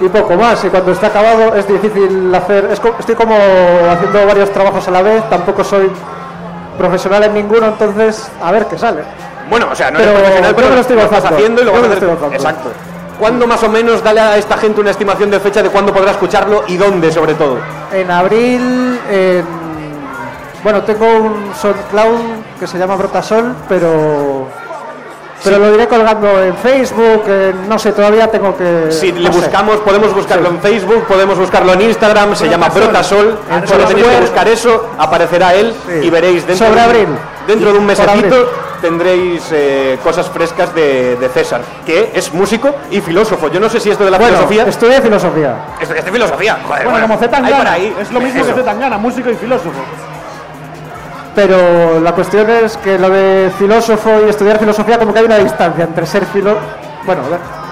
[SPEAKER 8] y, y poco más. Y cuando está acabado es difícil hacer. es co- estoy como haciendo varios trabajos a la vez. Tampoco soy profesional en ninguno, entonces a ver qué sale.
[SPEAKER 1] Bueno, o sea, no
[SPEAKER 8] Pero
[SPEAKER 1] eres profesional,
[SPEAKER 8] yo
[SPEAKER 1] pero
[SPEAKER 8] me lo estoy
[SPEAKER 1] estás
[SPEAKER 8] gozando.
[SPEAKER 1] haciendo y lo vas
[SPEAKER 8] Yo me
[SPEAKER 1] a
[SPEAKER 8] lo
[SPEAKER 1] hacer.
[SPEAKER 8] estoy gozando.
[SPEAKER 1] Exacto. ¿Cuándo más o menos dale a esta gente una estimación de fecha de cuándo podrá escucharlo y dónde, sobre todo?
[SPEAKER 8] En abril, en- bueno, tengo un SoundCloud que se llama Brotasol, pero pero lo diré colgando en Facebook. en- no sé, todavía tengo que.
[SPEAKER 1] Si le
[SPEAKER 8] Eh, no sé.
[SPEAKER 1] buscamos, podemos buscarlo en Facebook, podemos buscarlo en Instagram, se llama Brotasol.
[SPEAKER 8] En
[SPEAKER 1] Solo tenéis que
[SPEAKER 8] Foursquare.
[SPEAKER 1] buscar eso, aparecerá él
[SPEAKER 8] Sí.
[SPEAKER 1] y veréis dentro,
[SPEAKER 8] Sobre
[SPEAKER 1] de, un-
[SPEAKER 8] abril.
[SPEAKER 1] dentro de un
[SPEAKER 8] Por abril.
[SPEAKER 1] mesecito tendréis eh, cosas frescas de, de César, que es músico y filósofo. Yo no sé si esto de la
[SPEAKER 8] Bueno,
[SPEAKER 1] filosofía...
[SPEAKER 8] estudié filosofía.
[SPEAKER 1] Esto es de filosofía, joder.
[SPEAKER 2] Bueno, como
[SPEAKER 1] hay por
[SPEAKER 2] Zetangana,
[SPEAKER 1] ahí.
[SPEAKER 2] es lo mismo
[SPEAKER 1] Eso.
[SPEAKER 2] que Zetangana, músico y filósofo.
[SPEAKER 8] Pero la cuestión es que lo de filósofo y estudiar filosofía como que hay una distancia entre ser filósofo... Bueno,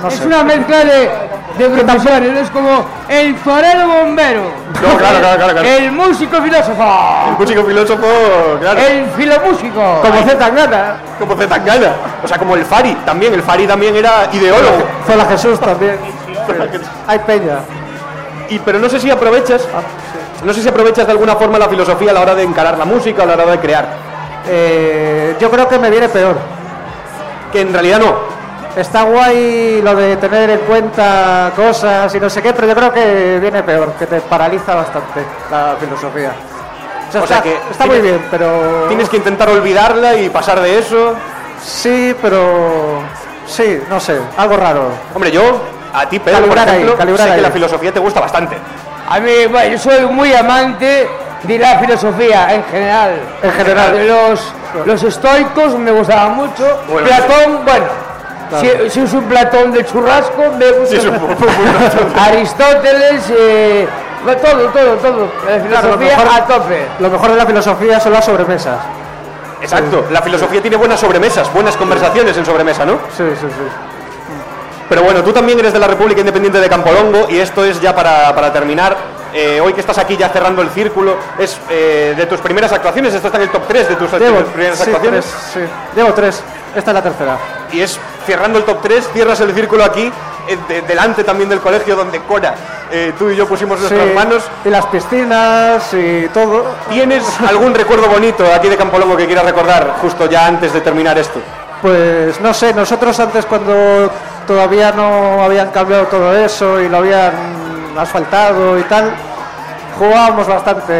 [SPEAKER 8] no
[SPEAKER 5] Es
[SPEAKER 8] sé.
[SPEAKER 5] una mezcla de, de profesores, ¿no? es como el torero bombero.
[SPEAKER 1] No, claro, claro, claro,
[SPEAKER 8] Eh,
[SPEAKER 1] claro.
[SPEAKER 5] El músico filósofo.
[SPEAKER 1] Músico filósofo, claro.
[SPEAKER 5] El filomúsico.
[SPEAKER 8] Como Z Tangana,
[SPEAKER 1] Como Zetangana. O sea, como el Fari también. El Fari también era ideólogo.
[SPEAKER 8] Zola Jesús también. Hay peña.
[SPEAKER 1] Y, pero no sé si aprovechas, no sé si aprovechas de alguna forma la filosofía a la hora de encarar la música, a la hora de crear.
[SPEAKER 8] Eh, yo creo que me viene peor.
[SPEAKER 1] Que en realidad no.
[SPEAKER 8] Está guay lo de tener en cuenta cosas y no sé qué, pero yo creo que viene peor, que te paraliza bastante la filosofía. O sea,
[SPEAKER 1] O sea
[SPEAKER 8] está,
[SPEAKER 1] que
[SPEAKER 8] está muy
[SPEAKER 1] tienes-
[SPEAKER 8] bien, pero...
[SPEAKER 1] Tienes que intentar olvidarla y pasar de eso.
[SPEAKER 8] Sí, pero... Sí, no sé, algo raro.
[SPEAKER 1] Hombre, yo a ti, Pedro, por
[SPEAKER 8] Calibrar ahí,
[SPEAKER 1] ejemplo,
[SPEAKER 8] calibrar
[SPEAKER 1] sé que
[SPEAKER 8] ahí.
[SPEAKER 1] la filosofía te gusta bastante.
[SPEAKER 5] A mí, bueno, yo soy muy amante de la filosofía en general.
[SPEAKER 8] En general.
[SPEAKER 5] De Los, los estoicos me gustaban mucho.
[SPEAKER 1] Bueno,
[SPEAKER 5] Platón, bueno. Si, si es un Platón de churrasco, me gusta.
[SPEAKER 1] Sí, es un- un-
[SPEAKER 5] Aristóteles, eh, bueno, todo, todo, todo. La
[SPEAKER 8] Claro, lo
[SPEAKER 5] filosofía
[SPEAKER 8] mejor-
[SPEAKER 5] a tope.
[SPEAKER 8] Lo mejor de la filosofía son las sobremesas.
[SPEAKER 1] Exacto. La filosofía tiene buenas sobremesas, buenas conversaciones en sobremesa, ¿no?
[SPEAKER 8] Sí, sí, sí.
[SPEAKER 1] Pero bueno, tú también eres de la República Independiente de Campolongo y esto es ya para, para terminar. eh, hoy que estás aquí ya cerrando el círculo, es eh, de tus primeras actuaciones, esto está en el top 3 de tus
[SPEAKER 8] Llevo,
[SPEAKER 1] primeras
[SPEAKER 8] sí,
[SPEAKER 1] actuaciones.
[SPEAKER 8] tres, sí. Llevo tres. Esta es la tercera.
[SPEAKER 1] Y es cerrando el top 3, cierras el círculo aquí, eh, de- delante también del colegio donde Cora, eh, tú y yo pusimos nuestras
[SPEAKER 8] Sí,
[SPEAKER 1] manos.
[SPEAKER 8] Y las piscinas y todo.
[SPEAKER 1] ¿Tienes algún recuerdo bonito aquí de Campolongo que quieras recordar justo ya antes de terminar esto?
[SPEAKER 8] Pues no sé, nosotros antes cuando todavía no habían cambiado todo eso y lo habían asfaltado y tal, jugábamos bastante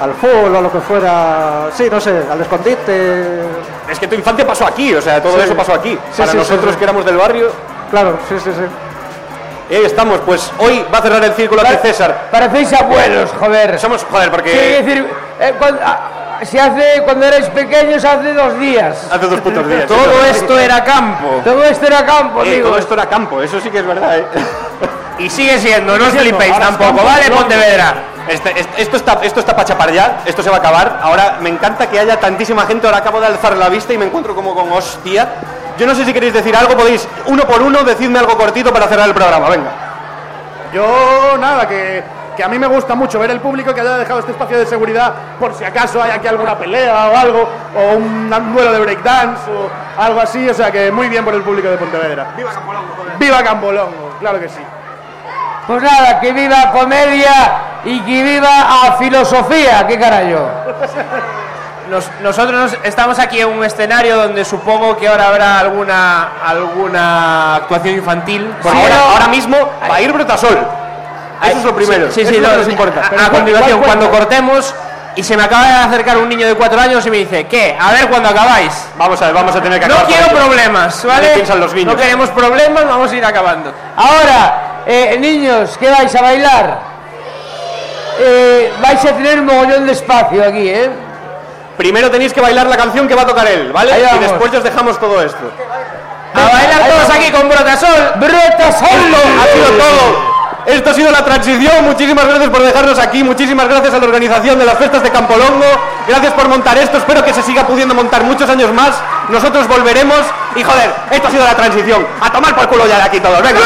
[SPEAKER 8] al fútbol o lo que fuera. Sí, no sé, al escondite.
[SPEAKER 1] Es que tu infancia pasó aquí, o sea, todo
[SPEAKER 8] Sí.
[SPEAKER 1] eso pasó aquí.
[SPEAKER 8] Sí,
[SPEAKER 1] para
[SPEAKER 8] sí, sí,
[SPEAKER 1] nosotros
[SPEAKER 8] sí.
[SPEAKER 1] que éramos del barrio,
[SPEAKER 8] Claro, sí, sí, sí.
[SPEAKER 1] y ahí estamos. Pues hoy va a cerrar el círculo aquí César.
[SPEAKER 5] Parecéis abuelos, joder.
[SPEAKER 1] Somos, joder, porque...
[SPEAKER 5] Quiero decir, eh, cuando- ah, se hace cuando erais pequeños hace dos días.
[SPEAKER 1] Hace dos putos días.
[SPEAKER 5] Todo esto era campo. Todo esto era campo,
[SPEAKER 1] Eh,
[SPEAKER 5] digo.
[SPEAKER 1] todo esto era campo, eso sí que es verdad. ¿eh?
[SPEAKER 4] Y sigue siendo, no os
[SPEAKER 2] siendo,
[SPEAKER 4] flipéis
[SPEAKER 2] ahora
[SPEAKER 4] tampoco,
[SPEAKER 2] estamos
[SPEAKER 4] ¿vale,
[SPEAKER 2] hablando.
[SPEAKER 4] Pontevedra?
[SPEAKER 1] Este- este- esto está, esto está para chapar ya, esto se va a acabar. Ahora me encanta que haya tantísima gente. Ahora acabo de alzar la vista y me encuentro como con hostia. Yo no sé si queréis decir algo, podéis uno por uno decidme algo cortito para cerrar el programa. Venga.
[SPEAKER 2] Yo, nada, que, que a mí me gusta mucho ver el público que haya dejado este espacio de seguridad por si acaso hay aquí alguna pelea o algo, o un, un duelo de breakdance o algo así. O sea que muy bien por el público de Pontevedra. ¡Viva Cambolongo! ¡Viva Cambolongo! Claro que sí.
[SPEAKER 5] Pues nada, que viva comedia y que viva a filosofía, qué carajo.
[SPEAKER 4] Nos- nosotros nos- estamos aquí en un escenario donde supongo que ahora habrá alguna alguna actuación infantil.
[SPEAKER 1] Bueno,
[SPEAKER 4] Sí,
[SPEAKER 1] ahora,
[SPEAKER 4] ¿no?
[SPEAKER 1] ahora mismo va a ir Brotasol. Eso es lo primero.
[SPEAKER 4] Sí,
[SPEAKER 1] Eso
[SPEAKER 4] sí,
[SPEAKER 1] es lo
[SPEAKER 4] no,
[SPEAKER 1] que nos
[SPEAKER 4] sí. Ah,
[SPEAKER 1] importa.
[SPEAKER 4] A- A, continuación, cuando cortemos, y se me acaba de acercar un niño de cuatro años y me dice, ¿qué? A ver cuando acabáis.
[SPEAKER 1] Vamos a ver, vamos a tener que
[SPEAKER 4] No
[SPEAKER 1] acabar con
[SPEAKER 4] quiero
[SPEAKER 1] esto.
[SPEAKER 4] problemas, ¿vale?
[SPEAKER 1] ¿Qué piensan los niños?
[SPEAKER 4] No queremos problemas, vamos a ir acabando.
[SPEAKER 5] Ahora, eh, niños, ¿qué vais a bailar? Eh, vais a tener un mogollón de espacio aquí, ¿eh?
[SPEAKER 1] Primero tenéis que bailar la canción que va a tocar él, ¿vale?
[SPEAKER 5] Ahí
[SPEAKER 1] Y
[SPEAKER 5] vamos.
[SPEAKER 1] después os dejamos todo esto.
[SPEAKER 4] A bailar todos aquí con Brotasol.
[SPEAKER 5] ¡Brota solo!
[SPEAKER 1] Ha sido todo. Esto ha sido la transición. Muchísimas gracias por dejarnos aquí. Muchísimas gracias a la organización de las fiestas de Campolongo. Gracias por montar esto. Espero que se siga pudiendo montar muchos años más. Nosotros volveremos. Y joder, esto ha sido la transición. A tomar por culo ya de aquí todos. Venga.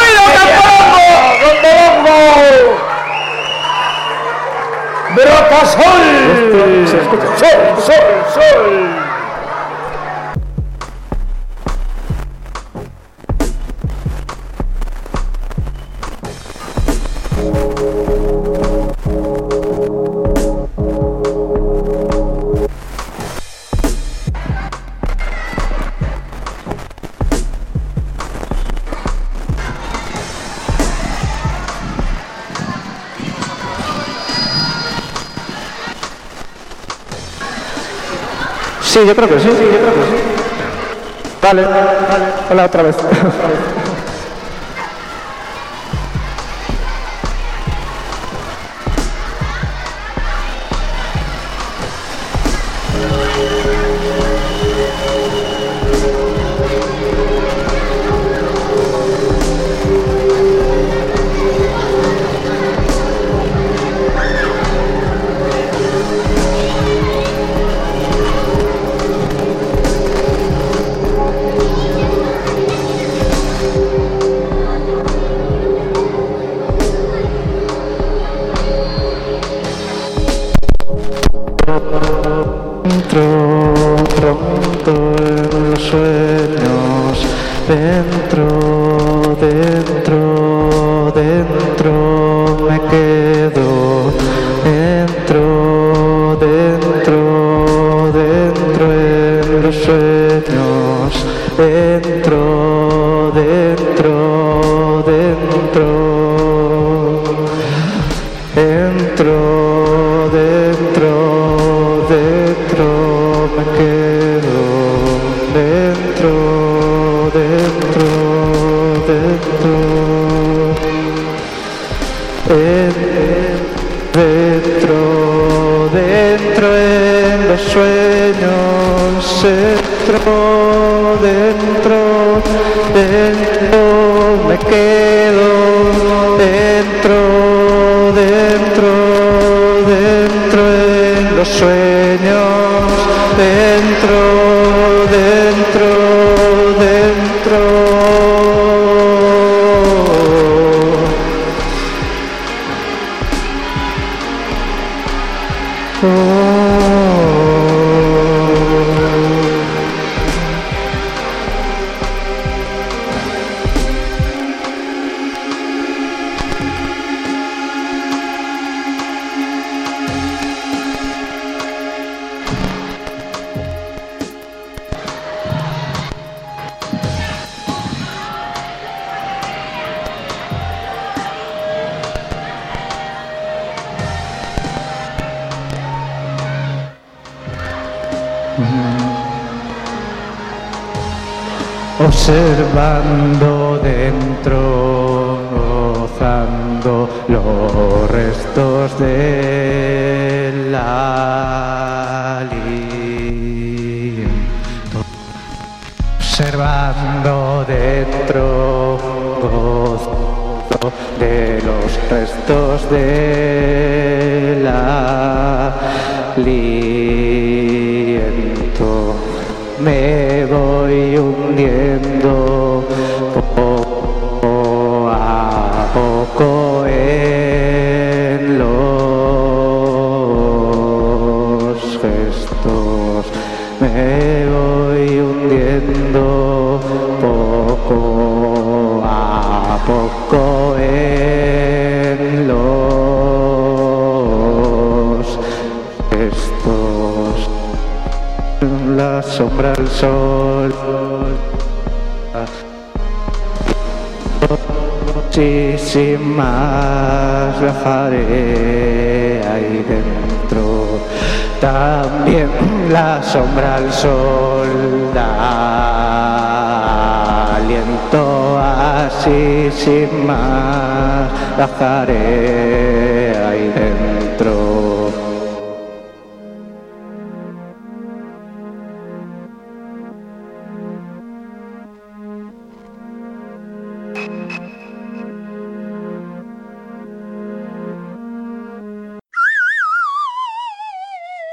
[SPEAKER 5] ¡Brota sol! ¡Sol, sol, sol!
[SPEAKER 7] Sí, yo creo que sí. Sí, yo creo que sí. Vale, vale. Hola, otra vez.
[SPEAKER 8] Entro pronto en los sueños, dentro, dentro, dentro me quedo, entro, dentro, dentro en los sueños, dentro, dentro, dentro. Entro, dentro, dentro me quedo. Dentro, dentro, dentro. En- dentro, dentro en los sueños, dentro, dentro, dentro me quedo, dentro, dentro, dentro en los sueños, dentro, dentro, dentro. observando dentro, gozando los restos de la li- observando dentro gozo de los restos de la aliento. Me voy hundiendo poco a poco en los gestos. Me voy hundiendo poco a poco en los gestos. La sombra al sol. Muchísimas bajaré ahí dentro. También la sombra al sol da aliento así sin más bajaré ahí dentro.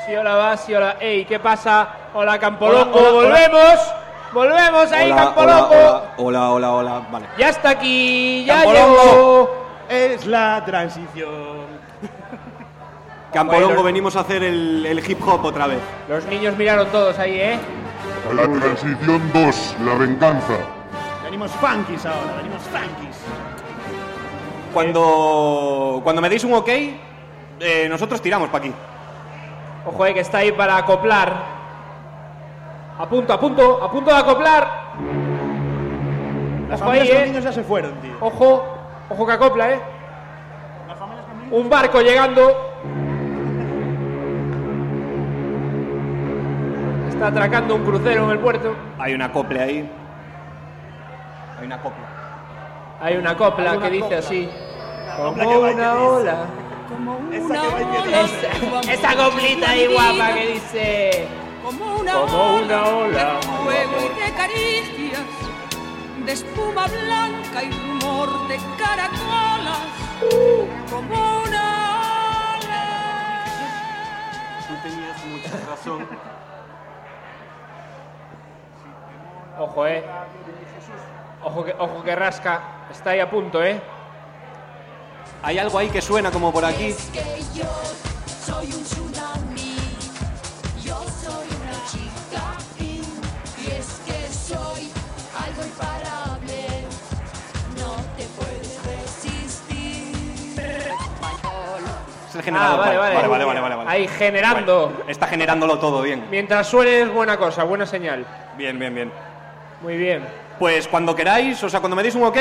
[SPEAKER 4] Sí, hola, va, sí, hola. Ey, ¿qué pasa? Hola, Campoloco, volvemos. Volvemos ahí, Campoloco.
[SPEAKER 10] hola, hola, hola, vale.
[SPEAKER 4] Ya está aquí, ya
[SPEAKER 10] Campoloco.
[SPEAKER 4] llegó.
[SPEAKER 2] Es la transición.
[SPEAKER 10] Campolongo,
[SPEAKER 4] Bueno.
[SPEAKER 10] venimos a hacer el, el hip hop otra vez.
[SPEAKER 4] Los niños miraron todos ahí, ¿eh?
[SPEAKER 11] A la transición 2, la venganza.
[SPEAKER 2] Venimos funkies ahora, venimos funkies.
[SPEAKER 10] Cuando, cuando me deis un ok, eh, nosotros tiramos para aquí.
[SPEAKER 4] Ojo, eh, que está ahí para acoplar. A punto, a punto, a punto de acoplar.
[SPEAKER 2] Las
[SPEAKER 4] Ojo ahí,
[SPEAKER 2] familias con
[SPEAKER 4] eh.
[SPEAKER 2] niños ya se fueron, tío.
[SPEAKER 4] Ojo, ojo que acopla, eh. Un barco llegando. Está atracando un crucero en el puerto.
[SPEAKER 10] Hay una acople ahí. Hay una acople.
[SPEAKER 4] Hay una copla que dice así. Como una ola. Esa, esa coplita ahí guapa que dice.
[SPEAKER 12] Como una
[SPEAKER 4] Como
[SPEAKER 12] ola,
[SPEAKER 4] una ola.
[SPEAKER 12] de fuego y de caricias, de espuma blanca y rumor de caracolas, como una ola.
[SPEAKER 10] Tú tenías mucha razón.
[SPEAKER 4] Ojo, eh. Ojo que, ojo que rasca. Está ahí a punto, eh.
[SPEAKER 10] Hay algo ahí que suena como por aquí.
[SPEAKER 12] Es que yo soy un tsunami, yo soy una chica fin, y es que soy algo imparable, no te puedes resistir.
[SPEAKER 10] Es el
[SPEAKER 1] Ah,
[SPEAKER 10] generador.
[SPEAKER 4] Ah, vale, vale.
[SPEAKER 10] vale, vale, vale, vale, vale.
[SPEAKER 4] Ahí generando.
[SPEAKER 10] Bueno, está generándolo todo bien.
[SPEAKER 4] Mientras suene es buena cosa, buena señal.
[SPEAKER 10] Bien, bien, bien.
[SPEAKER 4] Muy bien.
[SPEAKER 10] Pues cuando queráis, o sea, cuando me deis un ok,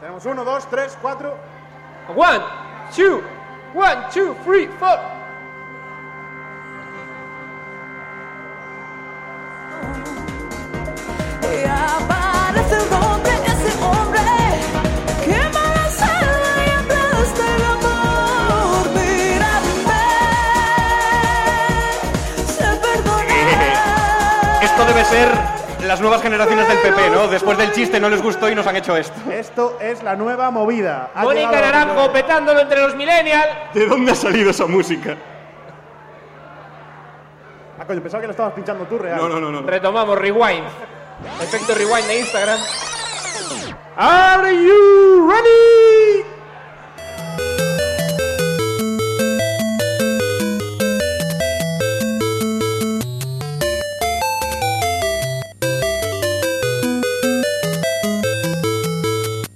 [SPEAKER 2] Tenemos uno, dos, tres, cuatro.
[SPEAKER 4] One, two, one, two, three, four.
[SPEAKER 12] Y aparece un hombre, ese hombre que embaraza la hembra desde el amor. Mírame, se perdona.
[SPEAKER 10] esto debe ser las nuevas generaciones del PP, ¿no? Después del chiste no les gustó y nos han hecho esto.
[SPEAKER 2] Esto es la nueva movida. Ha
[SPEAKER 4] Mónica
[SPEAKER 2] llegado-
[SPEAKER 4] Naranjo petándolo entre los millennials.
[SPEAKER 10] ¿De dónde ha salido esa música?
[SPEAKER 2] Ah, coño, pensaba que lo estabas pinchando tú, real.
[SPEAKER 10] No, no, no, no.
[SPEAKER 4] Retomamos, rewind. Efecto rewind de Instagram.
[SPEAKER 2] Are you ready?